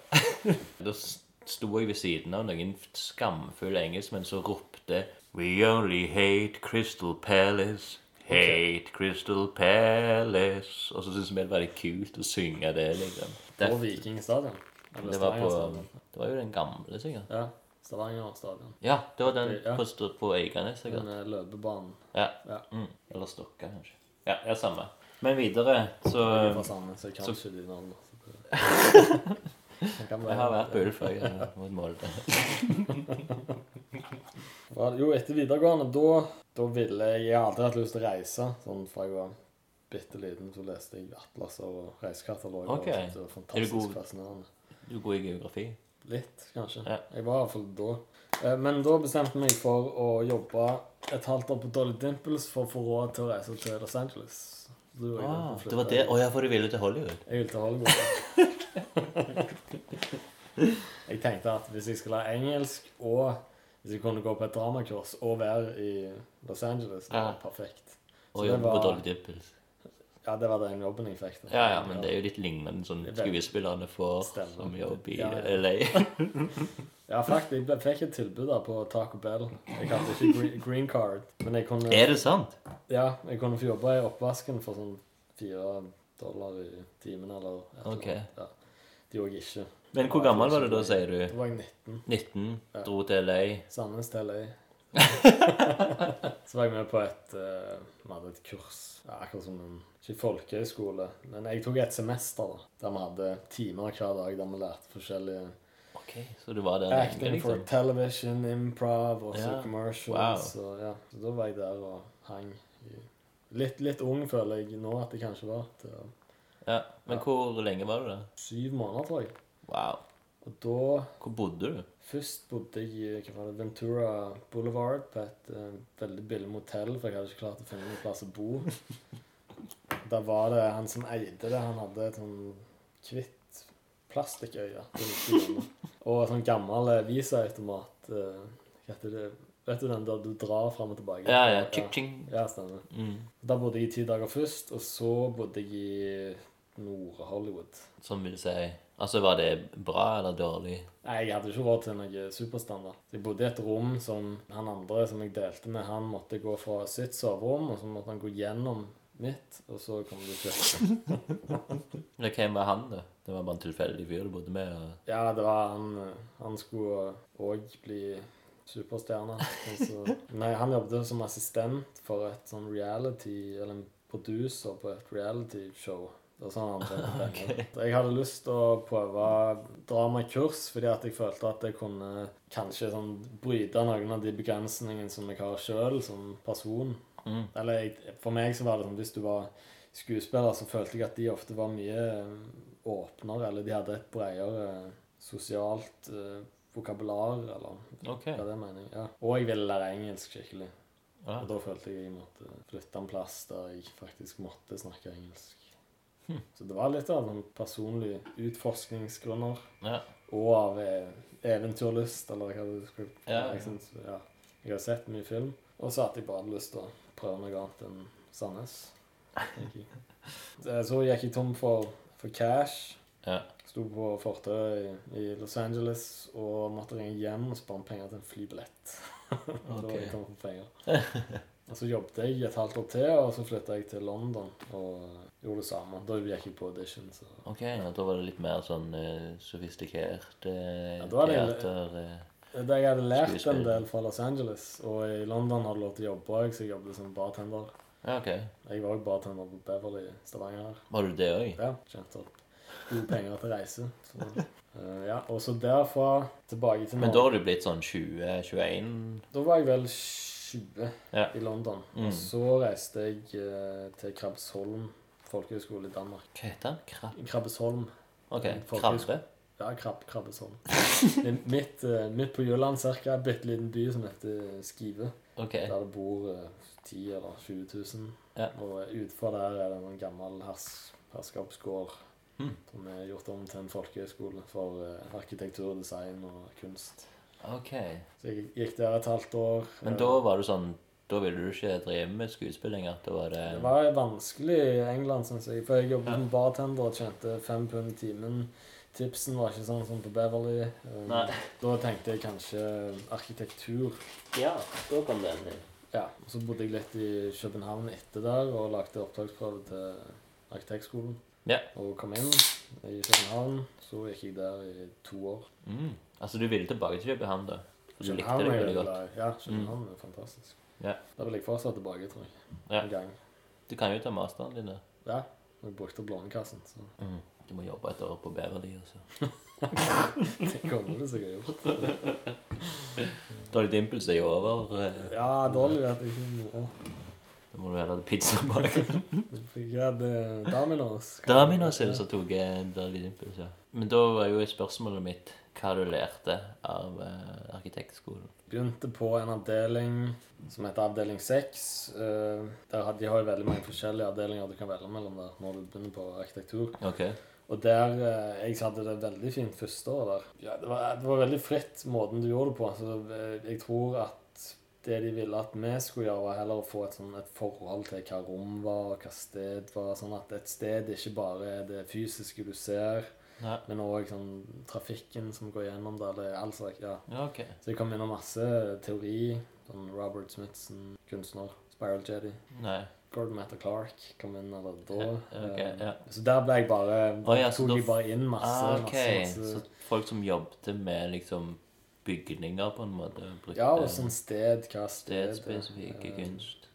B: det. da s- sto jeg ved siden av noen skamfulle engelskmenn som ropte We only hate Crystal Palace. Hate Crystal Palace. Og så syntes vi det var litt kult å synge det, liksom. Det,
C: På Viking stadion. Eller
B: det, var, sånn,
C: Stavanger
B: på,
C: stadion.
B: det var jo den gamle, sikkert.
C: Ja. Stavanger stadion.
B: Ja, det var den
C: Ja.
B: på, Sto- på Eiganes, sikkert.
C: Den eh, løpebanen
B: Ja.
C: Ja.
B: Mm. Eller Stokka, kanskje. Ja, ja, samme. Men videre, så
C: fra Sandnes. Jeg kan
B: Eh, så-
C: ikke de navnene. så det- Jeg kan
B: Jeg har
C: bare-
B: vært på Ulf òg, mot Molde.
C: Var- Jo, etter videregående, da, da ville jeg Jeg har alltid hatt lyst til å reise. Sånn fra jeg var bitte liten, så leste jeg atlaser og reisekataloger.
B: Ok.
C: og syntes Det var
B: Er
C: fantastisk
B: du god?
C: fascinerende.
B: Du er god i geografi.
C: Litt, kanskje.
B: Ja.
C: Jeg var iallfall da. Eh, Men da bestemte jeg meg for å jobbe et halvt år på Dolly Dimples for å få råd til å reise til Los Angeles. Så da gjorde jeg
B: Ah,
C: for å
B: det var
C: flytte.
B: det. Å ja, for du ville til Hollywood.
C: Jeg ville til Hollywood. jeg tenkte at hvis jeg skulle lære engelsk, og hvis jeg kunne gå på et dramakurs og være i Los Angeles, det var
B: Ja.
C: perfekt. Så
B: Og
C: det
B: jobbe på
C: var-
B: Dolly Dimples.
C: Ja, det var den jobben jeg fikk. da.
B: Ja, ja, men det er jo litt lignende sånn
C: Det er veldig-
B: skuespillerne får
C: Stemmer.
B: som jobb i
C: Ja, ja.
B: LA.
C: Ja, faktisk. Jeg ble, fikk et tilbud da på Taco Bell. Jeg hadde ikke green, green card, men jeg kunne
B: Er det sant?
C: Ja, jeg kunne få jobbe i oppvasken for sånn fire dollar i timen eller et eller
B: Ok.
C: annet. Ja. Det gjorde jeg ikke.
B: Men hvor gammel var du da, sier du?
C: Da var jeg 19.
B: 19? Dro til LA?
C: Sandnes til LA. så var jeg med på et eh, Vi hadde et kurs. Ja, akkurat som en ikke folkehøyskole, men jeg tok et semester da, der vi hadde timer hver dag der vi lærte forskjellige
B: Ok, Så du var der lenge,
C: Acting for
B: liksom?
C: television, improv og så
B: Ja. Wow.
C: commercials. Og, ja. Så da var jeg der og hang. i- Litt, litt ung føler jeg nå at jeg kanskje var. Til
B: Ja. Men hvor lenge var du der?
C: syv måneder, tror jeg.
B: Wow.
C: Og da
B: Hvor bodde du?
C: Først bodde jeg i hva var det, Ventura Boulevard på et eh, veldig billig motell, for jeg hadde ikke klart å finne noen plass å bo. Der var det han som eide det, han hadde et sånn kvitt plastikkøye. på utsiden. Og en sånn gammel eh, visaautomat. eh, Hva heter det? Vet du den der du drar fram og tilbake?
B: Ja, ja. Ching-ching.
C: Ja, stemmer.
B: Mm.
C: Der bodde jeg i ti dager først, og så bodde jeg i Nord-Hollywood.
B: Som vil si Altså, var det bra eller dårlig?
C: Nei, jeg hadde ikke råd til noe superstandard. Så Jeg bodde i et rom som han andre som jeg delte med, han måtte gå fra sitt soverom, og så måtte han gå gjennom mitt, og så kom det til
B: Eller hvem var han, da? Det var bare en tilfeldig fyr du bodde med? og...
C: Ja, det var han eh, Han skulle òg bli superstjerne. Og så- Nei, han jobbet som assistent for et sånn reality Eller en producer på et realityshow. Det var sånn han tjente penger. Så Jeg hadde lyst til å prøve dramakurs, fordi at jeg følte at jeg kunne kanskje sånn bryte noen av de begrensningene som jeg har sjøl som person.
B: Mm.
C: Eller jeg, for meg så var det sånn hvis du var skuespiller, så følte jeg at de ofte var mye eh, åpnere, eller de hadde et bredere sosialt eh, vokabular, eller
B: Ok.
C: hva det mener jeg. Ja. Og jeg ville lære engelsk skikkelig.
B: Ja.
C: Og da følte jeg jeg måtte flytte en plass der jeg faktisk måtte snakke engelsk. Så det var litt av en personlig utforskningsgrunner,
B: ja.
C: og av eh, eventyrlyst, eller hva det skulle
B: Ja, ja.
C: Jeg, synes, ja. jeg har sett mye film, og så hadde jeg bare lyst til å prøve noe annet enn Sandnes. tenker jeg. Eh, Så gikk jeg tom for, for cash.
B: Ja.
C: Sto på fortauet i, i Los Angeles og måtte ringe hjem og spare penger til en flybillett. Da var jeg tom for penger. Og så jobbet jeg et halvt år til, og så flytta jeg til London og gjorde det samme. Da gikk jeg på audition. Så.
B: Ok, ja, da var det litt mer sånn eh, sofistikert eh,
C: Ja, da var det-
B: teater eh.
C: Det jeg hadde lært en
B: Skuespiller.
C: del fra Los Angeles, og i London hadde jeg lov til å jobbe òg, så jeg jobbet som bartender.
B: Ja, ok.
C: Jeg var òg bartender på Beverly i Stavanger. her.
B: Var du det òg?
C: Ja, tjente opp gode penger til reise. Så. Eh, ja, og så derfra tilbake til
B: Men da
C: Norge.
B: har du blitt sånn 20-21
C: Da var jeg vel 20
B: Ja.
C: i London.
B: Mm.
C: Og så reiste jeg eh, til Krabbesholm folkehøgskole i Danmark.
B: Hva heter han? Krabbe?
C: Krabbesholm.
B: Ok,
C: En Mm, folkehøyskole.
B: krabbe.
C: Ja, krabb, Krabbesholm. Det er midt, eh, midt på Jylland cirka, en bitte liten by som heter Skive.
B: Ok,
C: Der det bor eh, 10 000 eller 20 000.
B: Ja.
C: Og eh, utenfor der er det en gammel hers, herskapsgård
B: Hmm.
C: som er gjort om til en folkehøgskole for eh, arkitektur, design og kunst.
B: ok.
C: Så jeg gikk der et halvt år.
B: Men
C: eh,
B: da var du sånn, da ville du ikke drive med skuespill lenger. Da var det...
C: Eh, Det var vanskelig i England, syns jeg. For jeg jobbet som bartender og tjente fem pund timen. Tipsen var ikke sånn som på Beverly. Um,
B: Nei.
C: Da tenkte jeg kanskje arkitektur.
B: Ja, da kom den inn.
C: Ja, og Så bodde jeg litt i København etter der og lagde opptaksprøve til arkitektskolen.
B: Ja.
C: Og kom inn i København. Så gikk jeg der i to år.
B: Mm. Altså, du ville tilbake til København da? For du likte
C: København
B: det
C: er
B: veldig
C: jo
B: godt. Mm.
C: glad i- Ja, København er fantastisk.
B: Ja.
C: Da vil jeg fortsatt tilbake, tror jeg.
B: Ja.
C: En gang.
B: Du kan jo ta masteren din da. Mm.
C: Ja. Og jeg brukte opp Lånekassen, så
B: Du må jobbe et år på Beverly, altså.
C: det kommer det sikkert gjort.
B: Dolly Dimples er jo over. eh,
C: Ja, dårlig vet jeg ikke. Ja.
B: Da må du heller ha pizza bak.
C: Jeg hadde Dominos.
B: Dominos er det som tok eh, Dolly Dimples, ja. Men da var jo spørsmålet mitt hva du lærte av eh, arkitektskolen.
C: Begynte på en avdeling som heter avdeling 6. eh, Der had- de har jo veldig mange forskjellige avdelinger du kan velge mellom der når du begynner på arkitektur.
B: Ok.
C: Og der eh, Jeg hadde det veldig fint første året der. Ja, det, var, det var veldig fritt måten du gjorde det på. Så eh, jeg tror at det de ville at vi skulle gjøre, var heller å få et, sånn, et forhold til hva rom var, hva sted var. Sånn at et sted ikke bare er det fysiske du ser.
B: Nei.
C: Men òg sånn, trafikken som går gjennom der. Det er alt slags, ja.
B: Ja, ok.
C: Så jeg kom gjennom masse teori. Sånn Robert Smithson, kunstner. Spiral Jedi.
B: Nei.
C: Gordon Matter Clark kom inn eller da.
B: Ja, ok,
C: Eh,
B: ja.
C: Så der ble jeg bare
B: Å ja, så
C: tok
B: da-
C: jeg bare inn masse.
B: Ah, ok.
C: masse,
B: Så
C: masse.
B: folk som jobbet med liksom bygninger på en måte, brukte
C: Ja, og sånn sted, hva sted er.
B: stedspesifikk
C: Eh,
B: kunst.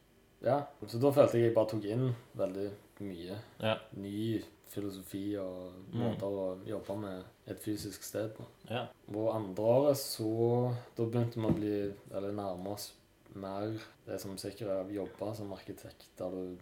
C: Ja, så da følte jeg jeg bare tok inn veldig mye
B: Ja. Mm.
C: ny filosofi og måter å jobbe med et fysisk sted på.
B: Ja.
C: Og andre året så Da begynte vi å bli Eller nærme oss mer det som sikkert er å jobbe som arkitekt, der du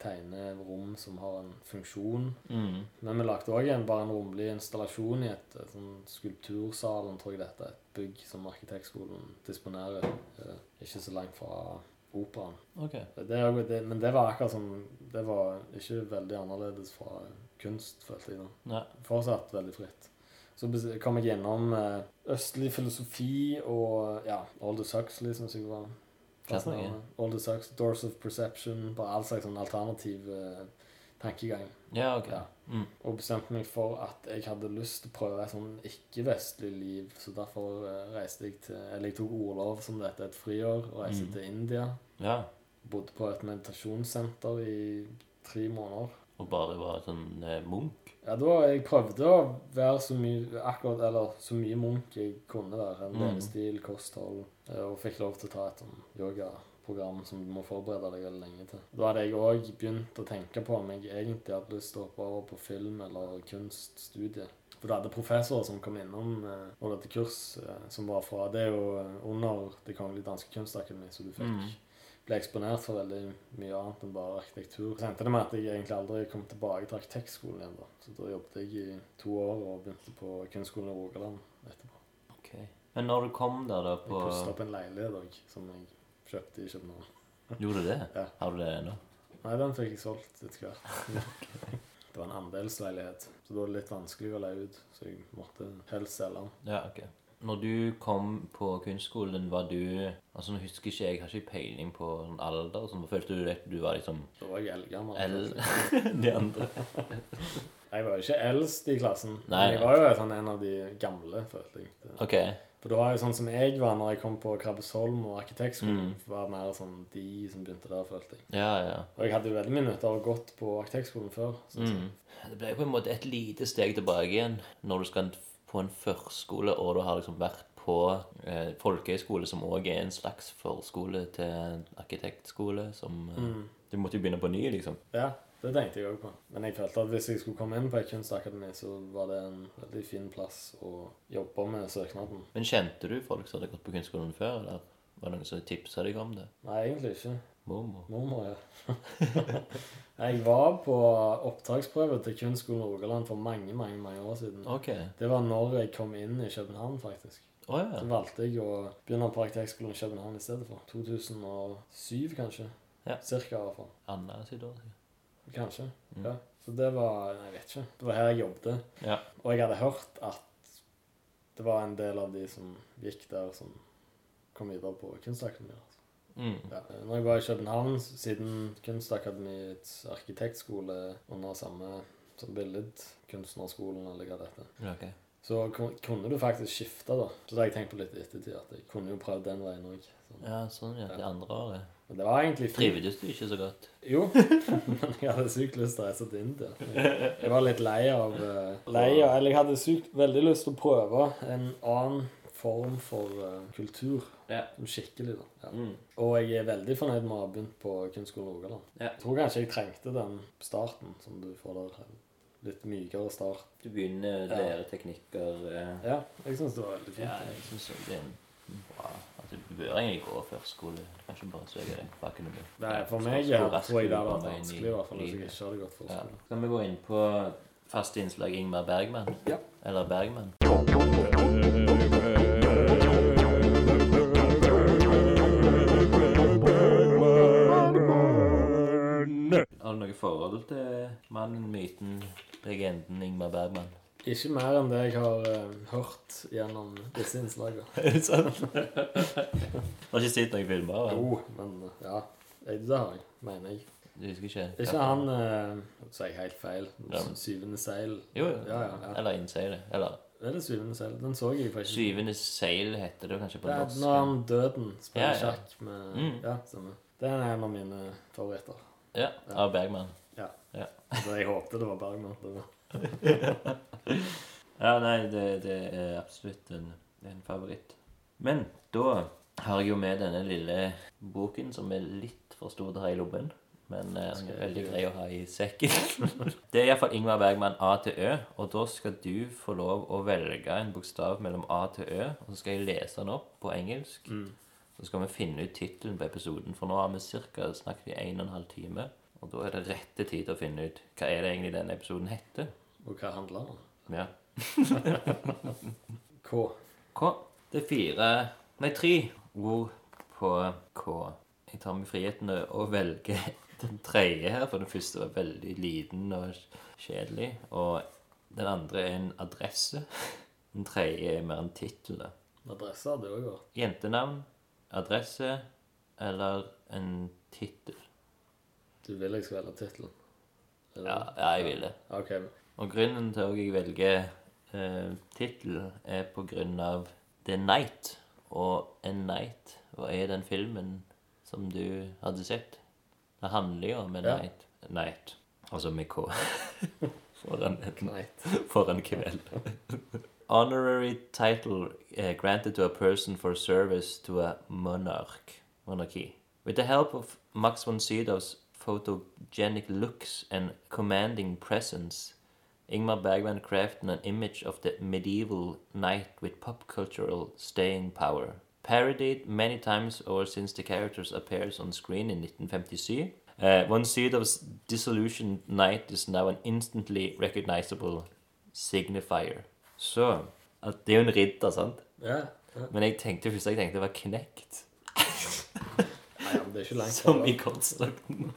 C: tegner rom som har en funksjon.
B: Mm.
C: Men vi lagde òg en, bare en rommelig installasjon i et, et sånn skulptursalen, tror jeg det heter. Et bygg som arkitektskolen disponerer. eh, Ikke så langt fra operaen.
B: Ok.
C: Det er, jo- det, men det var akkurat som Det var ikke veldig annerledes fra kunst, følte jeg. da
B: Nei.
C: fortsatt veldig fritt. Så bes- kom jeg gjennom eh, østlig filosofi og ja, Aldous Huxley, syns jeg var
B: Fascinerende.
C: fascinerende. Aldous Huxley, Doors of Perception, bare all slags sånn alternativ eh, tankegang.
B: Ja, ok.
C: Ja.
B: Mm.
C: Og bestemte meg for at jeg hadde lyst til å prøve et sånn ikke-vestlig liv, så derfor eh, reiste jeg til Eller jeg tok orlov, som det heter, et friår, og reiste
B: Mm.
C: til India.
B: Ja.
C: Bodde på et meditasjonssenter i tre måneder.
B: Og bare var sånn eh, munk.
C: Ja, da jeg prøvde å være så mye akkurat, eller så mye munk jeg kunne være. En
B: Mhm.
C: levestil, kosthold. eh, Og fikk lov til å ta et sånn yogaprogram som du må forberede deg veldig lenge til. Da hadde jeg òg begynt å tenke på om jeg egentlig hadde lyst til å hoppe over på film eller kunststudie. For du hadde professorer som kom innom eh, og hadde kurs eh, som var fra Det er jo eh, under Det kongelige danske kunstakademi, så du fikk
B: Mhm.
C: ble eksponert for veldig mye annet enn bare arkitektur. Så endte det med at jeg egentlig aldri kom tilbake til arkitektskolen igjen. da. Så da jobbet jeg i to år og begynte på kunstskolen i Rogaland etterpå.
B: Ok. Men når du kom der, da
C: Jeg
B: på
C: pustet opp en leilighet òg, som jeg kjøpte i København.
B: Gjorde du det?
C: Ja.
B: Har du det ennå?
C: Nei, den fikk jeg solgt etter hvert. Det var en andelsleilighet, så da var det litt vanskelig å leie ut. Så jeg måtte helst selge den.
B: Ja, ok. Når du kom på kunstskolen, var du Altså, nå husker ikke jeg, jeg har ikke peiling på sånn alder og sånn. Følte du at du var liksom
C: Da var jeg eldgammel.
B: L de andre?
C: Jeg var jo ikke eldst i klassen,
B: Nei,
C: men jeg
B: nei.
C: var jo sånn en av de gamle, følte jeg. Det-
B: OK.
C: For det var jo sånn som jeg var når jeg kom på Krabbesholm og arkitektskolen.
B: Mm.
C: var mer sånn de som begynte der, følte jeg.
B: Ja, ja.
C: Og jeg hadde jo veldig mye nytte av å ha gått på arkitektskolen før. synes jeg.
B: Mm. Det ble jo på en måte et lite steg tilbake igjen når du skal på en førskole, og du har liksom vært på eh, folkehøyskole, som òg er en slags
C: Mm.
B: forskole til arkitektskole, som eh, Du måtte jo begynne på ny, liksom.
C: Ja, Det tenkte jeg òg på. Men jeg følte at hvis jeg skulle komme inn på et kunstakademi, så var det en veldig fin plass å jobbe med søknaden.
B: Men kjente du folk som hadde gått på kunstskolen før, eller var det noen som tipsa deg om det?
C: Nei, egentlig ikke.
B: Mormor?
C: Mormor, ja. jeg var på opptaksprøve til Kunstskolen Rogaland for mange, mange, mange år siden.
B: OK.
C: Det var når jeg kom inn i København, faktisk.
B: Å
C: Så
B: ja.
C: valgte jeg å begynne på arkitektskolen i København i stedet for. 2007, kanskje.
B: Ja.
C: Cirka, i hvert fall.
B: Anna sitt år siden.
C: Kanskje. Ja. Så det var nei, Jeg vet ikke. Det var her jeg jobbet.
B: Mm. Ja.
C: Og jeg hadde hørt at det var en del av de som gikk der, som kom videre på Kunstakademiet. Altså.
B: Mm.
C: Ja. Når jeg var i København, siden Kunstakademiets arkitektskole under samme som billedkunstnerskolen, eller hva det heter,
B: OK.
C: så kun- kunne du faktisk skifte, da. Så det har jeg tenkt på litt i ettertid, at jeg kunne jo prøvd den veien òg.
B: Ja, sånn, ja. Det andre året.
C: Men det var egentlig fint.
B: Trivdes du ikke så godt?
C: Jo, men jeg hadde sykt lyst til å reise til India. Jeg var litt lei av eh, Lei av Eller jeg hadde sykt veldig lyst til å prøve en annen form for eh, kultur.
B: Ja.
C: Som Skikkelig, da. Ja.
B: Mm.
C: Og jeg er veldig fornøyd med å ha begynt på Kunstskolen Rogaland.
B: Ja.
C: Jeg tror kanskje jeg trengte den starten som du får der. en Litt mykere start.
B: Du begynner å lære teknikker eh,
C: Ja, jeg syns det var veldig
B: Ja,
C: fint.
B: jeg syns det er en bra Altså, du bør egentlig gå førskole. Kanskje bare søke deg på akademi.
C: Nei, for meg ja, tror jeg det hadde vært vanskelig, i hvert fall hvis jeg ikke hadde gått for
B: Ja.
C: skole.
B: Skal vi gå inn på faste innslag Ingmar Bergman?
C: Ja.
B: Eller Bergman? Har du noe forhold til mannen, myten, legenden Ingmar Bergman?
C: Ikke mer enn det jeg har eh, hørt gjennom disse innslagene.
B: Er det sant? Har ikke sett noen filmer? av han?
C: Jo, men eh, ja. Jeg, det har jeg, mener jeg.
B: Du husker ikke?
C: Ikke han eh, Nå sier jeg helt feil.
B: Ja, men-
C: Syvende seil.
B: Jo, jo.
C: Ja, ja, ja.
B: Eller innseilet. Eller
C: Er det Syvende seil? Den så jeg faktisk.
B: Syvende seil heter det kanskje på
C: Det er
B: norsk.
C: når han døden spiller
B: Ja, ja.
C: sjakk med
B: Mm.
C: Ja, stemmer. Det er en av mine favoritter.
B: Ja, av Bergman.
C: Ja.
B: Ja.
C: Så jeg håpte det var Bergman. Det var.
B: Ja, nei, det, det er absolutt en, det er en favoritt. Men da har jeg jo med denne lille boken som er litt for stor til å ha i lommen. Men eh, den er veldig grei å ha i sekken. det er iallfall Ingvar Bergman A til Ø. Og da skal du få lov å velge en bokstav mellom A til Ø. Og så skal jeg lese den opp på engelsk. Så skal vi finne ut tittelen på episoden. For nå har vi cirka snakket i en og en halv time. Og da er det rette tid til å finne ut hva er det egentlig denne episoden heter.
C: Og hva handler han om?
B: Ja.
C: K.
B: K. Det er fire Nei, tre ord på K. Jeg tar meg friheten å velge den tredje her, for den første var veldig liten og kjedelig. Og den andre er en adresse. Den tredje er mer en tittel. da.
C: Adresse hadde jeg òg vært.
B: Jentenavn, adresse eller en tittel.
C: Du vil jeg skal velge tittelen? Er det
B: Ja,
C: det?
B: ja, jeg vil det.
C: OK.
B: Og grunnen til at jeg velger eh, tittel, er på grunn av The Night. Og A Night hva er den filmen som du hadde sett. Det handler jo om en
C: Ja.
B: night. night. Altså med K. Foran en,
C: Knight.
B: for en kveld. Honorary title eh, granted to a person for service to a monarch. Monarchy. With the help of Max von Sydow's photogenic looks and commanding presence, Ingmar Bergman crafted an image of the medieval knight with pop cultural staying power. Parodied many times over since the characters appears on screen in 1957, uh, von Sydow's disillusioned knight is now an instantly recognizable signifier. Så at Det er jo en ridder, sant?
C: Ja. ja.
B: Men jeg tenkte først jeg tenkte det var knekt.
C: Nei, men det er ikke langt.
B: Som
C: fra.
B: i kortstokken.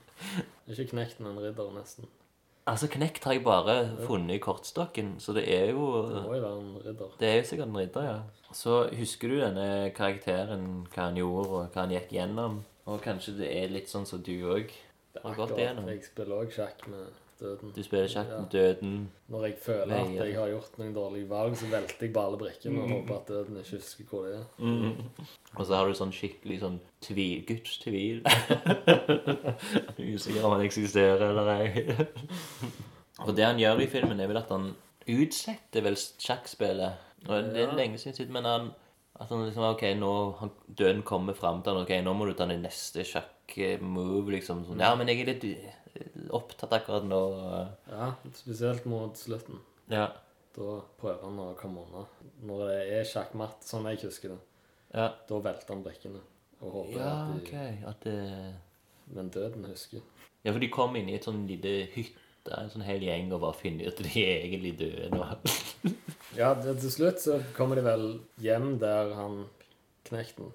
C: Det er Ikke knekt, men ridder, nesten.
B: Altså, knekt har jeg bare funnet i kortstokken, så det er
C: Det
B: jo
C: må jo være en ridder.
B: Det er jo sikkert en ridder, ja. Så husker du denne karakteren, hva han gjorde, og hva han gikk gjennom? Og kanskje det er litt sånn som du òg har gått
C: Akkurat.
B: gjennom?
C: Jeg spiller òg sjakk med døden.
B: Du spiller sjakk med døden.
C: Når jeg føler at
B: Veier.
C: jeg har gjort noen dårlige valg, så velter jeg bare alle brikkene og håper at døden ikke husker hvor det er.
B: Mm. Og så har du sånn skikkelig sånn tvil, gudsttvil. Usikker om han eksisterer eller ei. Og det han gjør i filmen, er vel at han utsetter vel sjakkspillet. Og det er lenge siden, siden, men han at han liksom OK, nå han, døden kommer fram til han, OK, nå må du ta den neste sjakk-move, liksom. Sånn. Ja, men jeg er litt opptatt akkurat nå.
C: Ja, spesielt mot slutten.
B: Ja.
C: Da prøver han å komme unna. Når det er sjakkmatt, sånn jeg husker det,
B: Ja,
C: da velter han brikkene. Og håper
B: ja
C: at de,
B: OK. At det
C: Men døden husker.
B: Ja, for de kom inn i et sånn lite hytte, en sånn hel gjeng, og bare finner ut at de er egentlig døde nå.
C: Ja, det, til slutt så kommer de vel hjem der han knekten.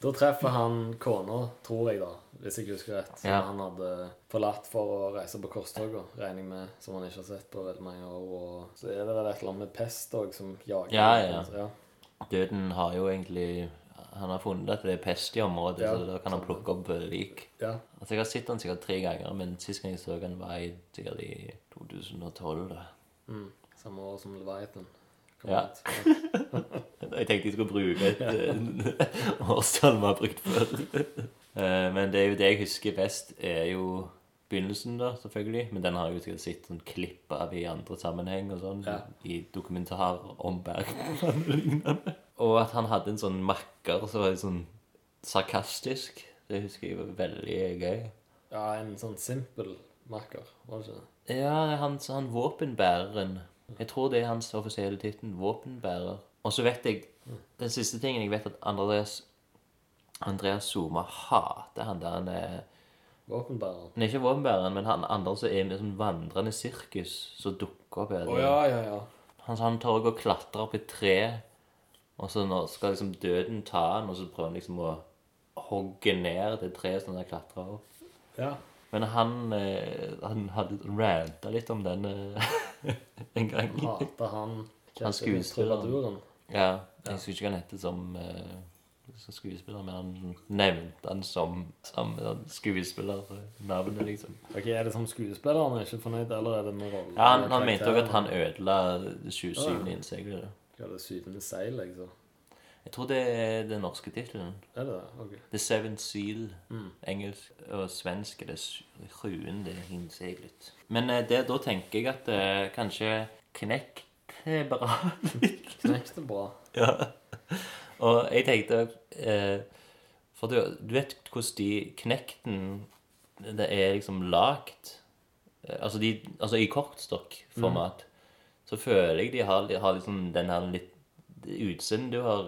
C: da treffer han kona, tror jeg, da, hvis jeg husker rett. Som
B: Ja.
C: han hadde forlatt for å reise på korstoga, regner jeg med. Som han ikke har sett på veldig mange år. Og så er det vel et eller annet med pest òg, som jager.
B: Ja, ja.
C: ja.
B: Døden har jo egentlig Han har funnet at det er pest i området,
C: Ja.
B: så da kan han plukke opp eh, lik.
C: ja.
B: Altså, Jeg har sett han sikkert tre ganger, men sist gang jeg så han var i sikkert i 2012. da.
C: Mm. Samme år som Leviathan. kom
B: Ja.
C: ut.
B: Jeg tenkte jeg skulle bruke et eh, årstall vi har brukt før. Eh, Men det er jo det jeg husker best, er jo begynnelsen, da, selvfølgelig. Men den har jeg jo sikkert sett sånn klipp av i andre sammenheng og sånn.
C: Ja.
B: I dokumentarer om Bergman og lignende. Og at han hadde en sånn makker som var litt sånn sarkastisk. Det husker jeg var veldig gøy.
C: ja, en sånn simpel makker, var det ikke det?
B: Ja, han, han våpenbæreren. Jeg tror det er hans offisielle tittel. Våpenbærer. Og så vet jeg Den siste tingen jeg vet at Andreas Andreas Zuma hater han der han er
C: Våpenbæreren.
B: Han er ikke våpenbæreren, men han andre som er med sånn vandrende sirkus som dukker opp. her.
C: ja, ja.
B: Han, han tør ikke å klatre opp i et tre, og så nå skal liksom døden ta han, og så prøver han liksom å hogge ned det treet som han har klatra opp.
C: Ja,
B: Men han, eh, han hadde ranta litt om den eh, en gang.
C: Hater han
B: Han skuespilleren.
C: Trubaduren.
B: Ja, jeg husker ikke hva han heter som, eh, som skuespiller, men han nevnte han som, som skuespillernavnet, liksom.
C: Ok, Er det som skuespilleren er ikke fornøyd, eller er det med rollen?
B: Ja, han, han mente òg at han ødela 27. innseglet.
C: Hva er det syvende seil, liksom?
B: Jeg tror det er den norske tittelen.
C: Er det det? Ok.
B: The Seventh Seal. Engelsk og svensk er det sj- sjuende innseglet. Men eh, det, da tenker jeg at eh, kanskje knekt er bra.
C: Knekte bra.
B: Ja. Og jeg tenkte eh, For du, du vet hvordan de knekten Det er liksom lagt eh, altså, de, altså i kortstokkformat så føler jeg de har, de har liksom den her litt det utseendet du har,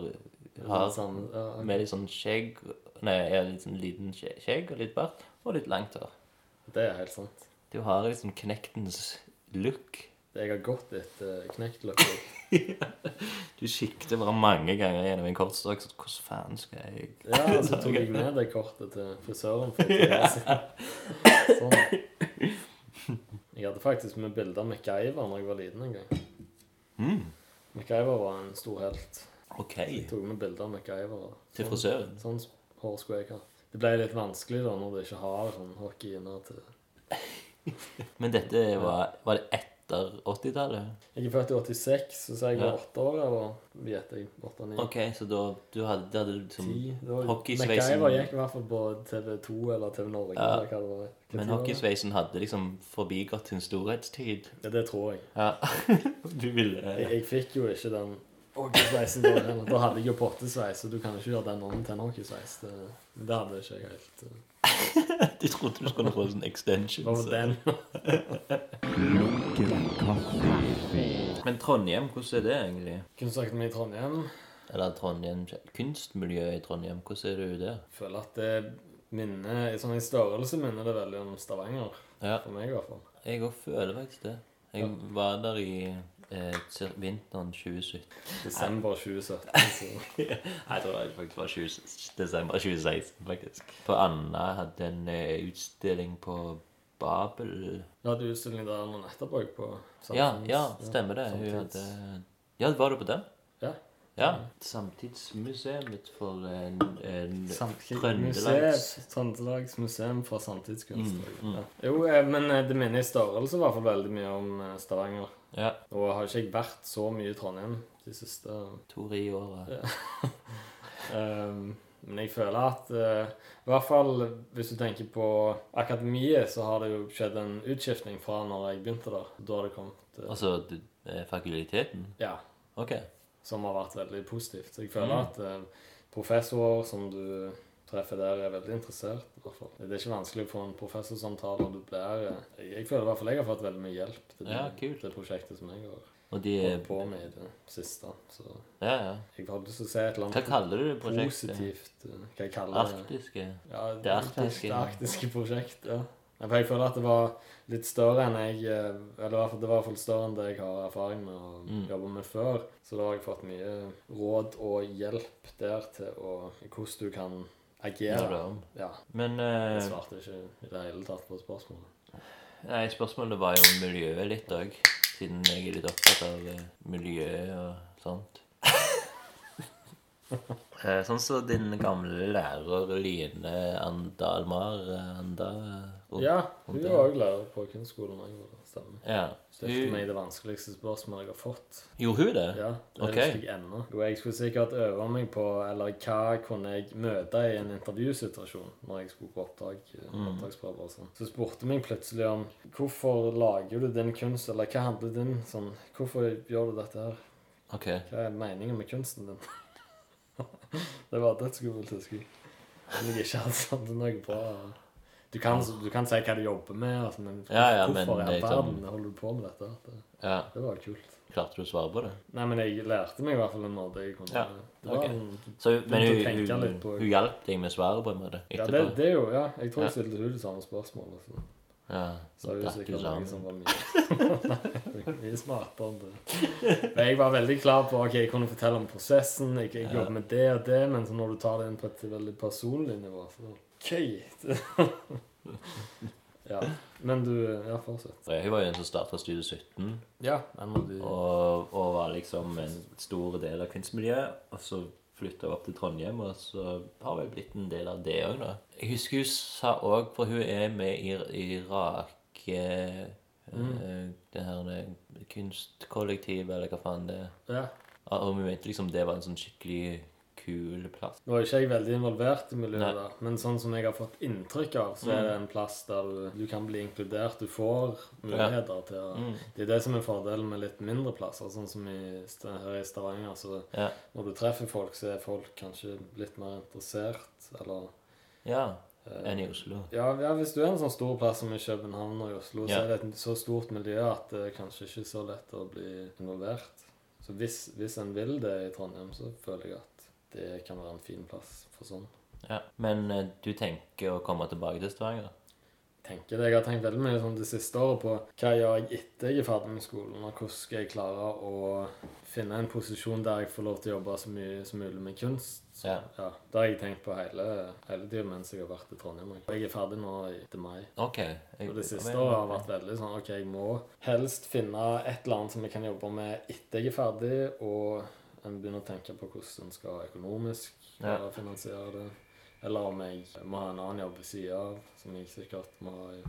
B: har
C: Sånn, ja, ok.
B: med litt sånn skjegg Nei, ja, litt sånn liten skje- skjegg og litt bart og litt langt hår.
C: Det er helt sant.
B: Du har liksom knektens look.
C: Jeg har gått eh, etter knektløkker.
B: Du sikter bare mange ganger gjennom en kortstokk. så Hvordan faen skal jeg
C: Ja, og så tok jeg med det kortet til frisøren. for å ta det. Sånn. Jeg hadde faktisk med bilde av MacGyver når jeg var liten en gang. MacGyver var en stor helt.
B: OK.
C: Jeg tok med bilde av MacGyver. og
B: Til frisøren?
C: Sånn hår skulle jeg ha. Det ble litt vanskelig da når du ikke har sånn hockeyinner til
B: Men dette var, var det etter 80-tallet?
C: Jeg er født i 86, så så jeg var
B: Ja.
C: åtte år, eller gjetter jeg. Åtte-ni.
B: Ok, så da du hadde, da hadde du liksom
C: Ti. Det var-
B: hockeysveisen
C: MacGyver gikk i hvert fall på TV2 eller TV Norge.
B: Ja.
C: eller hva det var. Hva tid
B: Men
C: var det?
B: hockeysveisen hadde liksom forbigått sin storhetstid.
C: Ja, det tror jeg.
B: Ja. Du ville
C: Jeg, jeg fikk jo ikke den hockeysveisen da heller. Da hadde jeg jo pottesveis, og du kan ikke gjøre den om til en hockeysveis. Det, det hadde ikke jeg helt. eh.
B: Du trodde du skulle få sånn extension.
C: Bare
B: så.
C: den.
B: Men Trondheim, hvordan er det egentlig?
C: Kunne snakket med i Trondheim.
B: Eller Trondheim, kunstmiljøet i Trondheim, hvordan er det jo der?
C: Føler at det minner, sånn i størrelse minner det veldig om Stavanger.
B: Ja,
C: For meg i hvert fall.
B: jeg òg føler faktisk det. Jeg var der i eh, cir- vinteren 2017.
C: Desember 2017. Så.
B: Nei, jeg tror det faktisk var 20, desember 2016, faktisk. På Anna hadde en eh, utstilling på Babel.
C: Vi hadde utstilling der nå nettopp òg, på
B: Ja,
C: samfunns-
B: ja, stemmer det. Hun
C: samtids-
B: hadde Ja, var du på den?
C: Ja.
B: Ja. Samtidsmuseet for en, en Trøndelags
C: Museet, Trøndelags museum for samtidskunst.
B: Mm,
C: Ja. Jo, eh, men eh, det minner i størrelse i hvert fall veldig mye om eh, Stavanger.
B: Ja.
C: Og har ikke jeg vært så mye i Trondheim de siste
B: Tori i året.
C: Ehm, Men jeg føler at eh, I hvert fall hvis du tenker på akademiet, så har det jo skjedd en utskiftning fra når jeg begynte der. Da har det kommet eh,
B: Altså du- eh, fakulteten?
C: Ja.
B: OK. Mm.
C: som har vært veldig positivt. Så jeg føler at eh, professorer som du treffer der, er veldig interessert. i hvert fall. Det er ikke vanskelig å få en professorsamtale. og du blir... eh, Jeg føler i hvert fall jeg har fått veldig mye hjelp til det,
B: Ja, kult.
C: det prosjektet som jeg har
B: Og de
C: holdt på med i det siste. Så
B: Ja, ja.
C: jeg har lyst til å si et eller
B: Hva
C: annet
B: kaller du det prosjektet?
C: positivt. eh, Hva jeg kaller det.
B: Arktiske?
C: Ja,
B: Det arktiske.
C: Det arktiske prosjekt, ja. Nei, for Jeg føler at det var litt større enn jeg eh, Eller i hvert fall- det var i hvert fall større enn det jeg har erfaring med å
B: Mm.
C: jobbe med før. Så da har jeg fått mye råd og hjelp der til å, hvordan du kan
B: Ja.
C: agere. Ja.
B: Men
C: Jeg
B: eh,
C: svarte ikke i det hele tatt på spørsmålet.
B: nei, spørsmålet var jo om miljøet litt òg. Siden jeg er litt opptatt av eh, miljø og sånt. Eh, sånn som din gamle lærer Line Andalmar eh, Anda eh,
C: Ja,
B: om
C: hun
B: det.
C: var òg lærer på kunstskolen. da jeg var der, Stemmer.
B: ja.
C: Stilte meg
B: Hun,
C: det vanskeligste spørsmålet jeg har fått.
B: gjorde hun det?
C: Ja, det
B: Ok.
C: husker jeg ennå. Jo, jeg skulle sikkert øve meg på eller hva kunne jeg møte i en intervjusituasjon når jeg skulle på oppdrag,
B: Mm.
C: oppdragsprøver og sånn. Så spurte meg plutselig om hvorfor lager du din kunst, eller hva handler din sånn Hvorfor gjør du dette her?
B: Ok.
C: Hva er meningen med kunsten din? det var dødskummelt, husker jeg. Men jeg ikke hadde sånn det er noe bra du kan, du kan si hva du jobber med, altså, men
B: Ja, ja, men
C: hvorfor i all
B: det er
C: verden
B: sånn-
C: holder du på med dette? Det,
B: Ja.
C: det var kult.
B: Klarte du å svare på det?
C: Nei, men jeg lærte meg i hvert fall en måte jeg kunne
B: Ja,
C: Det var
B: ok.
C: en,
B: Så, men
C: å
B: hun,
C: tenke
B: hun,
C: litt på-
B: hun hjalp deg med svaret på en måte?
C: ja,
B: Etterpå?
C: det, det er jo, ja, jeg tror jeg
B: Ja.
C: stilte hun det samme spørsmålet. Så,
B: Ja,
C: så er det jo
B: datt du
C: sikkert
B: sammen.
C: noe som var mye Nei, mye smartere enn det. Men jeg var veldig klar på ok, jeg kunne fortelle om prosessen, jeg, jeg jobber med det og det, men så når du tar det inn på et veldig personlig nivå, så OK. ja. Men du Ja, fortsett.
B: Hun var jo en som starta Studio 17,
C: Ja, en av de
B: og, og var liksom en stor del av kunstmiljøet. Og så flytta hun opp til Trondheim, og så har hun blitt en del av det òg, da. Jeg husker hun sa òg, for hun er med i i Irak eh,
C: Mm.
B: eh, Det her det kunstkollektivet, eller hva faen det er.
C: Ja.
B: Og og hun mente liksom det var en sånn skikkelig kul plass.
C: Nå er ikke jeg veldig involvert i miljøet,
B: Nei. Mm.
C: der, men sånn som jeg har fått inntrykk av, så er det en plass der du, du kan bli inkludert. Du får muligheter til
B: Mm.
C: å Det er det som er fordelen med litt mindre plasser, sånn som i, St- her i Stavanger. Så
B: Ja.
C: når du treffer folk, så er folk kanskje litt mer interessert, eller eh,
B: ja. Enn i Oslo.
C: ja, ja, hvis du er en sånn stor plass som i København og i Oslo, så
B: Ja.
C: er det et så stort miljø at det er kanskje ikke så lett å bli involvert. Så hvis, hvis en vil det i Trondheim, så føler jeg at det kan være en fin plass for sånn.
B: Ja. Men eh, du tenker å komme tilbake til Stavanger?
C: tenker det. Jeg har tenkt veldig mye sånn det siste året på hva gjør jeg etter jeg er ferdig med skolen, og hvordan skal jeg klare å finne en posisjon der jeg får lov til å jobbe så mye som mulig med kunst. Så,
B: Ja.
C: Det har jeg tenkt på hele, hele tiden mens jeg har vært i Trondheim. Og Jeg er ferdig nå i til mai.
B: OK. jeg-
C: Og det siste
B: jeg-
C: året har vært veldig sånn OK, jeg må helst finne et eller annet som jeg kan jobbe med etter jeg er ferdig, og en begynner å tenke på hvordan en skal økonomisk
B: Ja.
C: klare å finansiere det. Eller om jeg må ha en annen jobb ved siden av, som jeg sikkert må ha i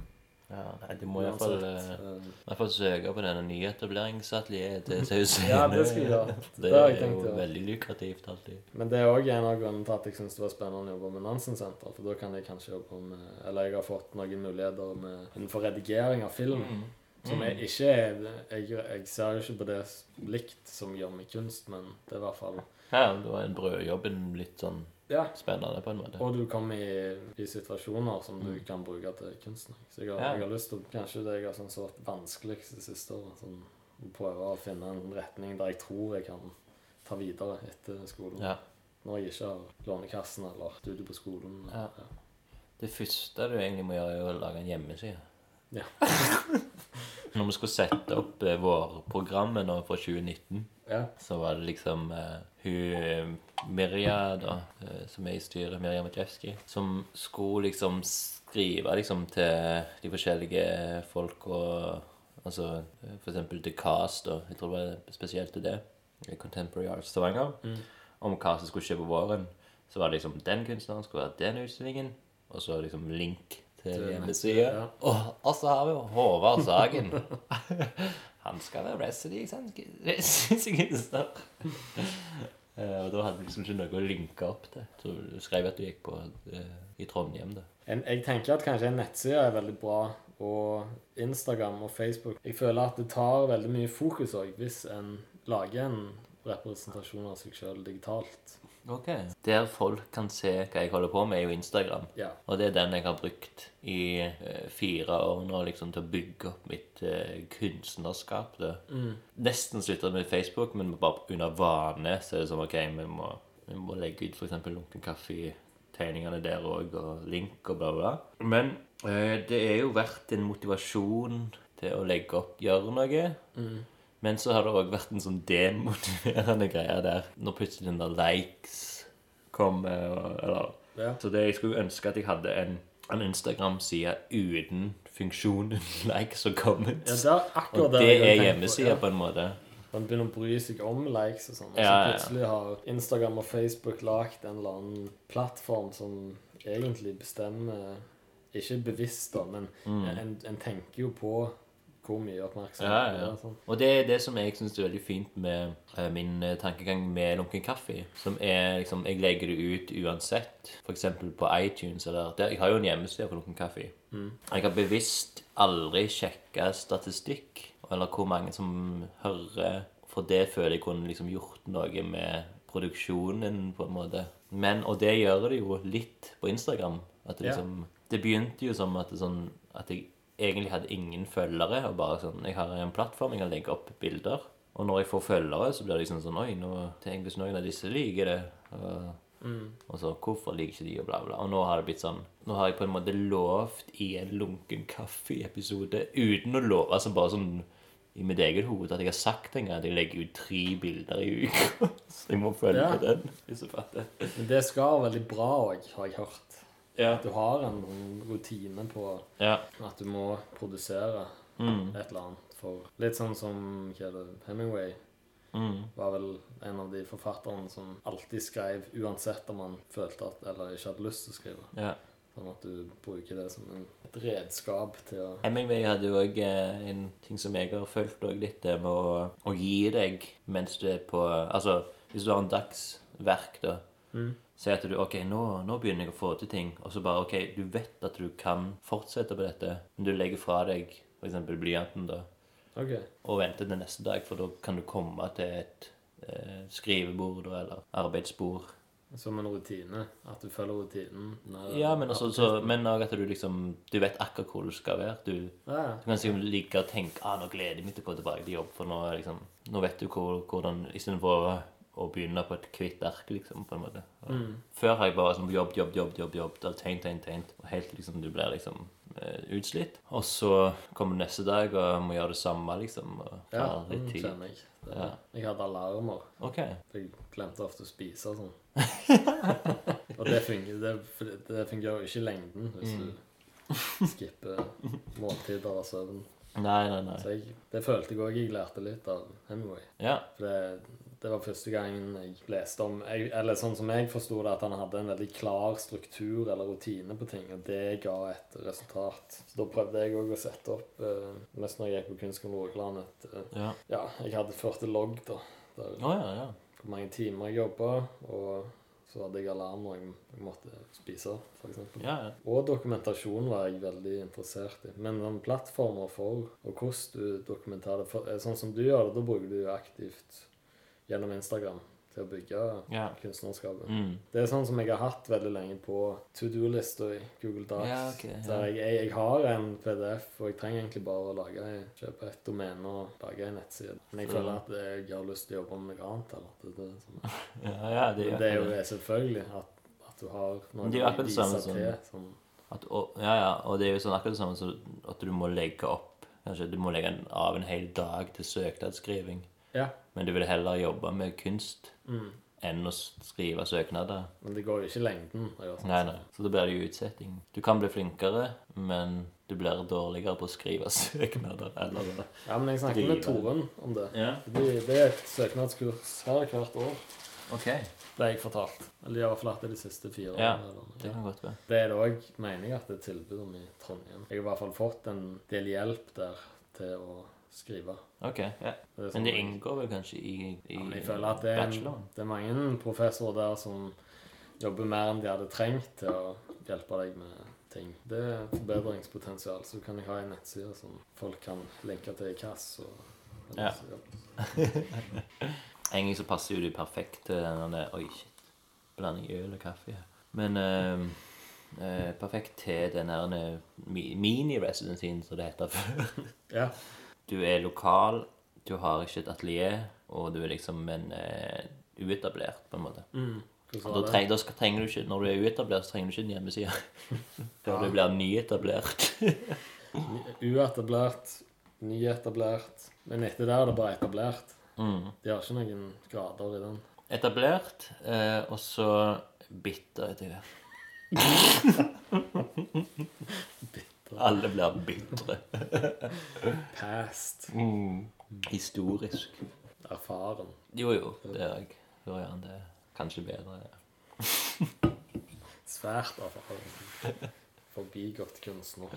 B: Ja, nei, du må iallfall
C: Uansett, eh,
B: Jeg får søke på denne nyetableringsatelieret til Sausene.
C: eh, Ja, det skal jeg gjøre.
B: Det
C: Det har jeg
B: er
C: tenkt
B: jo
C: å gjøre.
B: veldig lukrativt alltid.
C: Men det er òg en av grunnene til at jeg syns det var spennende å jobbe med Nansen-senteret. For da kan jeg kanskje jobbe med Eller jeg har fått noen muligheter med, innenfor redigering av film.
B: Mm.
C: Som jeg ikke er jeg, jeg ser jo ikke på det s- likt som jeg gjør med kunst, men det er i hvert fall
B: Ja, da er en brødjobben litt sånn
C: Ja.
B: spennende på en måte.
C: Og du kommer i, i situasjoner som
B: Mm.
C: du kan bruke til kunsten. Så jeg har,
B: Ja.
C: jeg har lyst til Kanskje det jeg har sånn vært vanskeligst det siste året. Sånn, å prøve å finne en retning der jeg tror jeg kan ta videre etter skolen.
B: Ja.
C: Når jeg ikke har Lånekassen eller studier på skolen.
B: Ja. Det første du egentlig må gjøre, er å lage en hjemmeside.
C: Ja.
B: Når vi skulle sette opp eh, vårprogrammet nå for 2019,
C: Ja.
B: så var det liksom eh, hun eh, Mirja, da, eh, som er i styret, Mirja Matjevskij, som skulle liksom skrive liksom til de forskjellige folk og Altså eh, for eksempel til Cast, og jeg tror det var spesielt til det, i Contemporary Art Stavanger, om hva som skulle skje på våren. Så var det liksom den kunstneren skulle være den utstillingen, og så liksom link til hjemmesida.
C: ja.
B: Og, og så altså har vi jo Håvard Sagen. Han skal være residency-kunstner. Og da hadde vi liksom ikke noe å linke opp til. Så du skrev at du gikk på eh, i Trondheim, da.
C: En, jeg tenker at kanskje en nettside er veldig bra, og Instagram og Facebook Jeg føler at det tar veldig mye fokus òg, hvis en lager en representasjon av seg sjøl digitalt.
B: Ok. Der folk kan se hva jeg holder på med, er jo Instagram.
C: Ja.
B: Og det er den jeg har brukt i eh, fire år nå liksom, til å bygge opp mitt eh, kunstnerskap. Da. Nesten slutta med Facebook, men bare under vane så er det sånn OK, vi må, vi må legge ut f.eks. Lunken kaffe. Tegningene der òg, og link og bla, bla. bla. Men eh, det er jo vært en motivasjon til å legge opp, gjøre noe. Men så har det òg vært en sånn demotiverende greie der. Når plutselig den der likes kommer, og- eller
C: Ja.
B: Så det jeg skulle ønske at jeg hadde en, en Instagram-side uten funksjonen likes og
C: Ja,
B: comments.
C: det er akkurat
B: og
C: det
B: det
C: jeg har
B: er
C: tenkt på,
B: hjemmesida
C: ja.
B: på en måte.
C: Man begynner å bry seg om likes og sånn. Og
B: Ja, ja.
C: så plutselig har Instagram og Facebook lagd en eller annen plattform som egentlig bestemmer Ikke bevisst, da, men en, en tenker jo på hvor mye
B: Mm.
C: oppmerksomhet
B: Ja, ja.
C: det er, sånn.
B: Og det er det som jeg syns er veldig fint med eh, min eh, tankegang med lunken kaffe. Som er liksom Jeg legger det ut uansett. F.eks. på iTunes eller der, Jeg har jo en hjemmeside for lunken kaffe. Jeg har bevisst aldri sjekka statistikk eller hvor mange som hører. For det føler jeg kunne liksom gjort noe med produksjonen, på en måte. Men, Og det gjør det jo litt på Instagram. At det
C: Ja.
B: liksom det begynte jo som at, det sånn, at jeg egentlig hadde ingen følgere. og bare sånn, Jeg har en plattform, jeg kan legge opp bilder. Og når jeg får følgere, så blir det liksom sånn Oi, nå tenk hvis noen av disse liker det. Og,
C: Mm.
B: og så hvorfor liker ikke de, og bla, bla. Og nå har det blitt sånn Nå har jeg på en måte lovt i en lunken kaffe-episode uten å love altså bare sånn i mitt eget hoved at jeg har sagt en gang at jeg legger ut tre bilder i uka. Så jeg må følge
C: Ja.
B: den, hvis du fatter.
C: Men det skal være veldig bra òg, har jeg hørt.
B: Ja.
C: At du har en sånn rutine på
B: ja.
C: at du må produsere
B: Mm.
C: et eller annet for Litt sånn som hva er det, Hemingway
B: Mm.
C: var vel en av de forfatterne som alltid skrev uansett om han følte at eller ikke hadde lyst til å skrive.
B: ja.
C: Sånn at du bruker det som en, et redskap til å
B: Hemingway hadde jo òg eh, en ting som jeg har følt òg litt, det med å, å gi deg mens du er på Altså, hvis du har en dagsverk, da. Si at du OK, nå, nå begynner jeg å få til ting. Og så bare OK, du vet at du kan fortsette på dette, men du legger fra deg f.eks. blyanten, da,
C: OK.
B: og venter til neste dag, for da kan du komme til et eh, skrivebord da, eller arbeidsbord.
C: Som en rutine. At du følger rutinen. Nei,
B: Ja, men altså- også så, men også at du liksom Du vet akkurat hvor du skal være. Du
C: ja, ja.
B: Du kan sikkert ligge og tenke ah, nå gleder jeg meg til å gå tilbake til jobb, for nå, er liksom, nå vet du hvor, hvordan Istedenfor å, å begynne på et hvitt ark, liksom, på en måte.
C: Mm.
B: Før har jeg bare sånn jobb, jobb, jobb, jobb, jobb, da, tegn, tegn, tegn, og helt liksom du blir liksom eh, utslitt. Og så kommer neste dag og må gjøre det samme, liksom. Og
C: ja
B: tar
C: den
B: litt tid.
C: kjenner jeg. Det,
B: Ja.
C: Jeg hadde alarmer.
B: OK.
C: for Jeg glemte ofte å spise og sånn. og det fungerer, det, det fungerer jo ikke i lengden hvis du skipper måltider og søvn.
B: Nei, nei, nei.
C: Så jeg, det følte jeg òg jeg lærte litt av Hemingway.
B: Ja.
C: For det, det var første gangen jeg leste om jeg, Eller sånn som jeg forsto det, at han hadde en veldig klar struktur eller rutine på ting, og det ga et resultat. Så da prøvde jeg òg å sette opp, eh, mest når jeg gikk på Kunstskolen Rogaland, et eh,
B: Ja.
C: Ja, jeg hadde ført en logg, da. Der
B: Å ja, ja.
C: hvor mange timer jeg jobba, og så hadde jeg alarm når jeg, jeg måtte spise, f.eks.
B: ja, ja.
C: Og dokumentasjon var jeg veldig interessert i. Men den plattformer for, og hvordan du dokumenterer det for, eh, Sånn som du gjør det, da bruker du jo aktivt gjennom Instagram til å bygge
B: Ja.
C: kunstnerskapet.
B: Mm.
C: Det er sånn som jeg har hatt veldig lenge på to do-lista i Google Docs.
B: Ja, ok, ja.
C: Der jeg, jeg, jeg har en PDF, og jeg trenger egentlig bare å lage en, kjøpe et domene og lage en nettside. Men jeg føler at jeg har lyst til å jobbe med noe annet. Eller? Det, det, er sånn.
B: ja, ja det,
C: Men det er jo det, selvfølgelig. At, at du har
B: Men
C: noe
B: det er jo akkurat det samme som-
C: som
B: At, og, ja, ja, og det er jo sånn akkurat det samme som at du må legge opp Kanskje du må legge en, av en hel dag til søknadsskriving.
C: Ja.
B: Men du vil heller jobbe med kunst
C: mm.
B: enn å s- skrive søknader.
C: Men det går jo ikke i lengden. å gjøre sånn.
B: Nei, nei. Så da blir det jo utsetting. Du kan bli flinkere, men du blir dårligere på å skrive søknader. Eller
C: Ja, men jeg snakket med
B: Drive.
C: Toren om det.
B: Ja,
C: Det, det er et søknadskurs her hvert år.
B: OK.
C: Det har jeg fortalt. Eller i hvert fall hatt det de siste fire
B: Ja,
C: årene. eller noe.
B: Det kan godt være.
C: Det er det òg meninga at det er tilbud om i Trondheim. Jeg har i hvert fall fått en del hjelp der til å skrive.
B: OK. ja.
C: Det er sånn-
B: Men det inngår vel kanskje i, i
C: Ja, men jeg føler at det er,
B: bacheloren?
C: det er mange professorer der som jobber mer enn de hadde trengt til å hjelpe deg med ting. Det er forbedringspotensial. Så kan jeg ha en nettside som folk kan linke til i KASS. Og,
B: Ja. Egentlig så passer jo de perfekt til denne Oi, shit. Blanding øl og kaffe. her. Men eh, eh, perfekt til den her eh, mi- mini-residencyen, som det heter før.
C: Ja.
B: Du er lokal, du har ikke et atelier, og du er liksom en eh, uetablert, på en måte. Og da,
C: Mm. Hvordan var det?
B: treng, da skal, trenger du ikke, Når du er uetablert, så trenger du ikke en hjemmeside. Da du blir nyetablert.
C: Uetablert, nyetablert. Men etter det er det bare etablert.
B: Mm.
C: De har ikke noen grader i den.
B: Etablert, eh, og så bitter etter hvert. Alle blir bitre.
C: Past.
B: Mm. Historisk.
C: Erfaren.
B: Jo, jo, det er jeg. Hører gjerne det. Kanskje bedre.
C: Svært erfaren. Forbigått kunstner.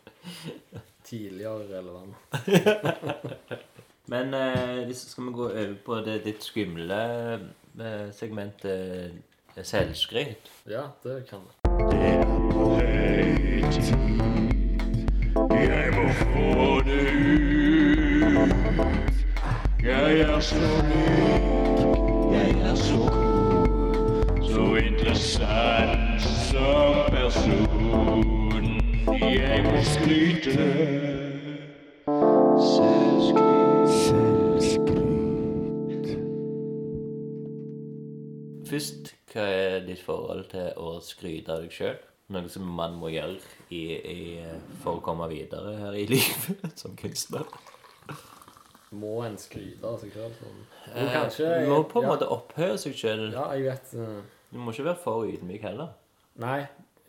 C: Tidligere relevant.
B: Men eh, hvis skal vi gå over på det litt skumle eh, segmentet eh, selvskryt.
C: Ja, det kan jeg.
D: Jeg må få det ut. Jeg er så rik, jeg er så cool, så interessant som person. Jeg må skryte. Selvskryt.
B: Først, hva er ditt forhold til å skryte av deg sjøl? Noe som man må gjøre i, i, eh, for å komme videre her i livet som kunstner.
C: Må en skryte av seg sjøl sånn? Jo,
B: Eh,
C: kanskje.
B: Du må på en
C: ja,
B: måte opphøye seg sjøl.
C: Ja, jeg vet eh,
B: Du må ikke være for ydmyk heller.
C: Nei.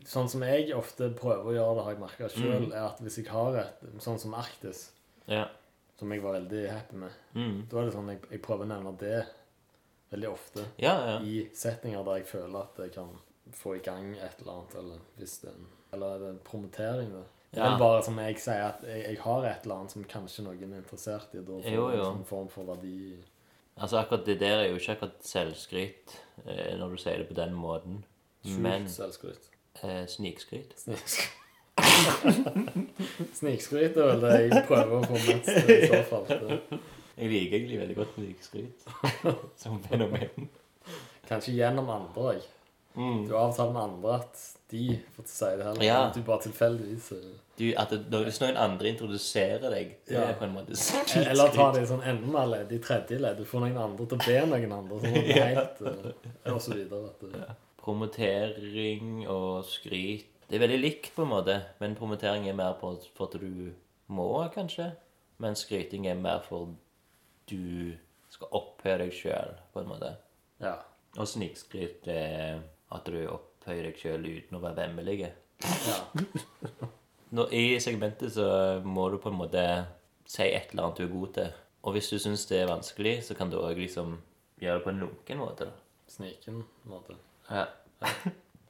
C: Sånn som jeg ofte prøver å gjøre det, har jeg merka sjøl, er at hvis jeg har et Sånn som Arktis,
B: Ja.
C: som jeg var veldig happy med,
B: Mm.
C: da er det sånn jeg, jeg prøver å nevne det veldig ofte
B: Ja, ja.
C: i settinger der jeg føler at jeg kan få i gang et eller annet, eller hvis det er en Eller er det en promotering, da?
B: Ja.
C: Men bare som jeg sier, at jeg, jeg har et eller annet som kanskje noen er interessert i, da får jeg
B: Jo,
C: en
B: jo.
C: sånn form for verdi.
B: Altså, akkurat det der er jo ikke akkurat selvskryt eh, når du sier det på den måten. Men
C: Skjult selvskryt.
B: eh, snikskryt.
C: Snikskryt. Snikskryt er vel det jeg prøver å få mest i så fall. Det-
B: Jeg liker egentlig veldig godt snikskryt som fenomen.
C: Kanskje gjennom andre òg.
B: Mm.
C: Du avtaler med andre at de får si det heller.
B: Ja.
C: men Du bare tilfeldigvis eh,
B: Du, at det, når- hvis noen andre introduserer deg, det
C: Ja.
B: er på en måte
C: Eller ta
B: snikskryt.
C: det i sånn enda mer ledd, i tredje ledd. Du får noen andre til å be noen andre. Sånn at det er helt, eh, og så videre. At, det-
B: Promotering og skryt Det er veldig likt, på en måte, men promotering er mer på for at du må, kanskje. Mens skryting er mer for du skal opphøye deg sjøl, på en måte.
C: ja.
B: Og snikskryt er at du opphøyer deg sjøl uten å være vemmelig.
C: ja.
B: Nå, I segmentet så må du på en måte si et eller annet du er god til. Og hvis du syns det er vanskelig, så kan du òg liksom gjøre det på en lunken måte. da.
C: Sniken måte.
B: Ja.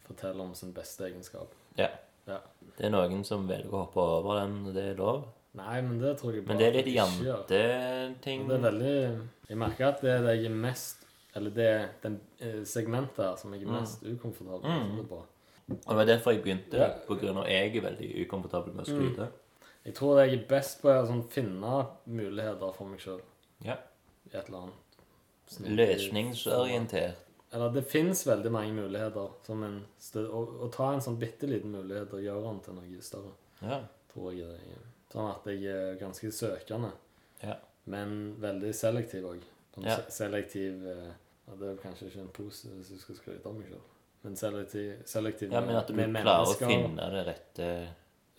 C: Fortelle om sin beste egenskap.
B: ja.
C: Ja.
B: Det er noen som velger å hoppe over den, og det er lov.
C: Nei, men det tror jeg bare
B: Men det er
C: at
B: litt
C: jeg ikke gjør.
B: janteting.
C: Og Det er veldig Jeg merker at det er det jeg er mest Eller det den eh, segmentet her som
B: Mm.
C: jeg er mest ukomfortabel liksom, med. så det er bra.
B: Og det var derfor jeg begynte.
C: Ja. Mm.
B: På grunn av jeg er veldig ukomfortabel med å skryte.
C: Jeg tror det jeg er best på, er å sånn, finne muligheter for meg sjøl
B: Ja.
C: i et eller annet. snilt-
B: Løsningsorientert.
C: Eller det fins veldig mange muligheter. Som en stø- å, å ta en sånn bitte liten mulighet og gjøre den til noe større,
B: Ja.
C: tror jeg det er. Sånn at jeg er ganske søkende,
B: Ja.
C: men veldig selektiv òg. Sånn
B: Ja.
C: se- Selektiv eh, ja, Det er jo kanskje ikke en pose hvis du skal skryte av meg sjøl. Men selektiv, selektiv
B: ja, men at du klarer å finne det rette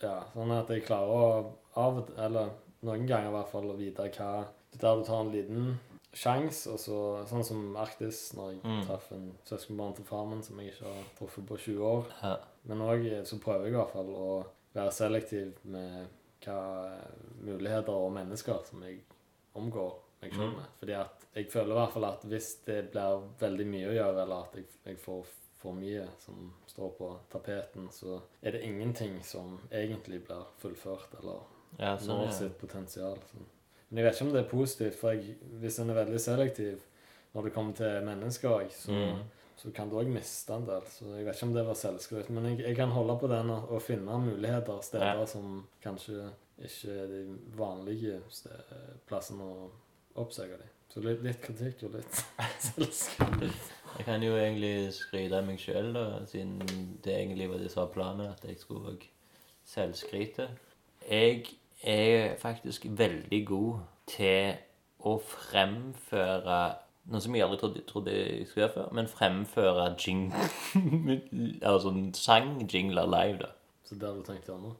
C: Ja, sånn at jeg klarer å av og til, eller noen ganger i hvert fall, å vite hva Det der du tar en liten sjanse, og så Sånn som Arktis, når jeg
B: Mm.
C: traff en søskenbarn til far min som jeg ikke har truffet på 20 år.
B: ja.
C: Men òg så prøver jeg i hvert fall å være selektiv med hva eh, muligheter og mennesker som jeg omgår meg sjøl
B: Mm.
C: med. Fordi at jeg føler i hvert fall at hvis det blir veldig mye å gjøre, eller at jeg, jeg får for mye som står på tapeten, så er det ingenting som egentlig blir fullført eller
B: ja, sånn,
C: når
B: ja.
C: sitt potensial. Sånn. Men jeg vet ikke om det er positivt, for jeg, hvis en er veldig selektiv når det kommer til mennesker, også, så,
B: Mm.
C: så kan du òg miste en del. Så jeg vet ikke om det var selvskryt. Men jeg, jeg kan holde på den og, og finne muligheter, steder
B: Ja.
C: som kanskje ikke er de vanlige ste- plassene å oppsøke de. Så litt, litt kritikk og litt selskap.
B: Jeg kan jo egentlig skryte av meg sjøl, da, siden det egentlig var det som var planen, at jeg skulle òg selvskryte. Jeg er faktisk veldig god til å fremføre noe som jeg aldri trodde, trodde jeg skulle gjøre før, men fremføre jing... altså sangjingler live, da.
C: Så det hadde du tenkt gjerne.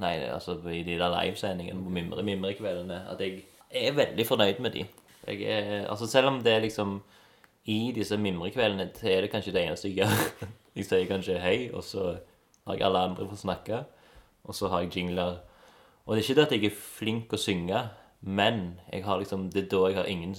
B: Nei, altså i de der livesendingene på Mimre, Mimrekveldene, at jeg er veldig fornøyd med de. Jeg er, altså selv om det er liksom i disse mimrekveldene så er det kanskje det eneste jeg gjør. Jeg sier kanskje hei, og så har jeg alle andre for å snakke, og så har jeg jingler. Og det er ikke det at jeg er flink å synge, men jeg har liksom, det er da jeg har ingen,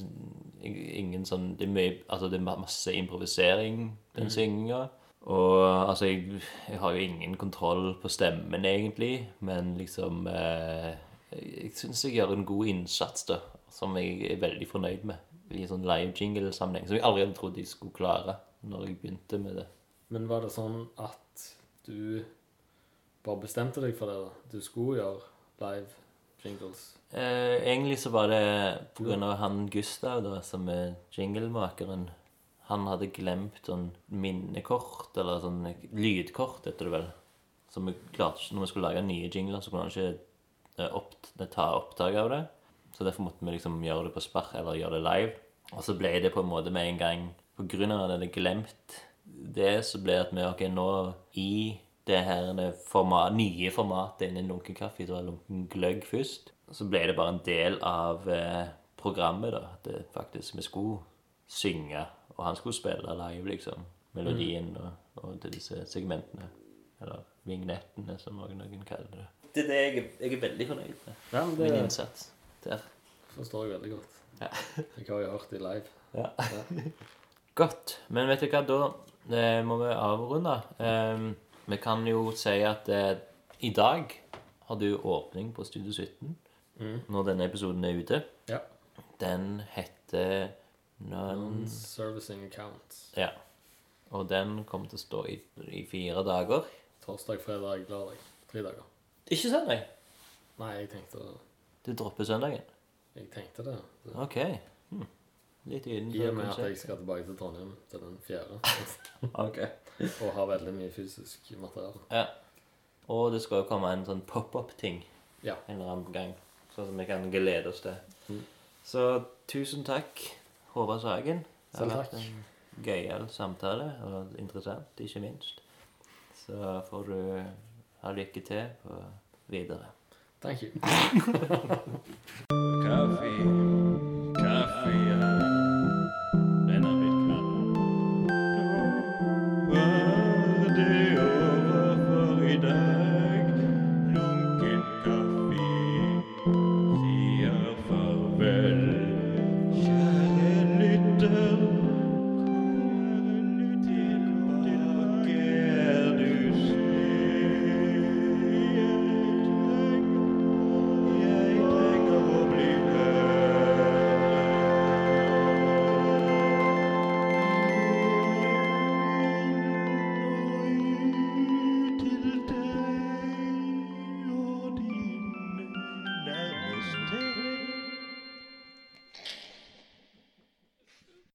B: ingen sånn det er, mye, altså det er ma- masse improvisering, den synginga. Og altså, jeg, jeg har jo ingen kontroll på stemmen, egentlig, men liksom eh, Jeg syns jeg gjør en god innsats, da, som jeg er veldig fornøyd med i sånn live jingle-sammenheng, som jeg aldri hadde trodd jeg skulle klare når jeg begynte med det.
C: Men var det sånn at du bare bestemte deg for det? da? Du skulle gjøre live jingles?
B: Eh, egentlig så var det på grunn av han Gustav, da, som er jinglemakeren. Han hadde glemt sånn minnekort, eller sånn lydkort, heter det vel. Så vi klarte ikke, når vi skulle lage nye jingler, så kunne han ikke eh, opp, ta opptak av det. Så derfor måtte vi liksom gjøre det på spark, eller gjøre det live. Og så ble det på en måte med en gang På grunn av at han hadde glemt det, så ble det at vi ok, nå i det her forma- nye formatet innen lunken kaffe, det var lunken gløgg først, så ble det bare en del av eh, programmet, da. At det faktisk vi skulle synge, og han skulle spille live, liksom. Melodien og, og til disse segmentene. Eller vignettene, som noen, noen kaller det. Det er det jeg, er- jeg er veldig fornøyd med.
C: Ja, men
B: Min
C: det
B: innsats der.
C: forstår jeg veldig godt.
B: Ja.
C: Jeg har jo hørt de live.
B: Godt. Men vet du hva, da eh, må vi avrunde. Ehm, vi kan jo si at eh, i dag har du åpning på Studio 17 når denne episoden er ute.
C: Ja.
B: Den heter Nuns
C: Servicing accounts.
B: Ja. Og den kommer til å stå i, i fire dager.
C: Torsdag, fredag, lørdag. Tre dager.
B: Ikke søndag.
C: Nei, jeg tenkte,
B: Du dropper søndagen.
C: jeg tenkte det.
B: OK. Hm. Litt
C: I og
B: utenfor
C: med at jeg
B: konseptet.
C: skal tilbake til Trondheim til den fjerde,
B: Ok.
C: og har veldig mye fysisk materiale.
B: Ja. Og det skal jo komme en sånn pop-up-ting
C: Ja. Mm.
B: en eller annen gang. Sånn som vi kan glede oss til. Så tusen takk, Håvard Sagen. Det har
C: Selv
B: vært
C: takk.
B: en gøyal samtale, og interessant, ikke minst. Så får du ha lykke til på videre.
C: Thank you.
D: Kaffe, kaffe, ja. uh,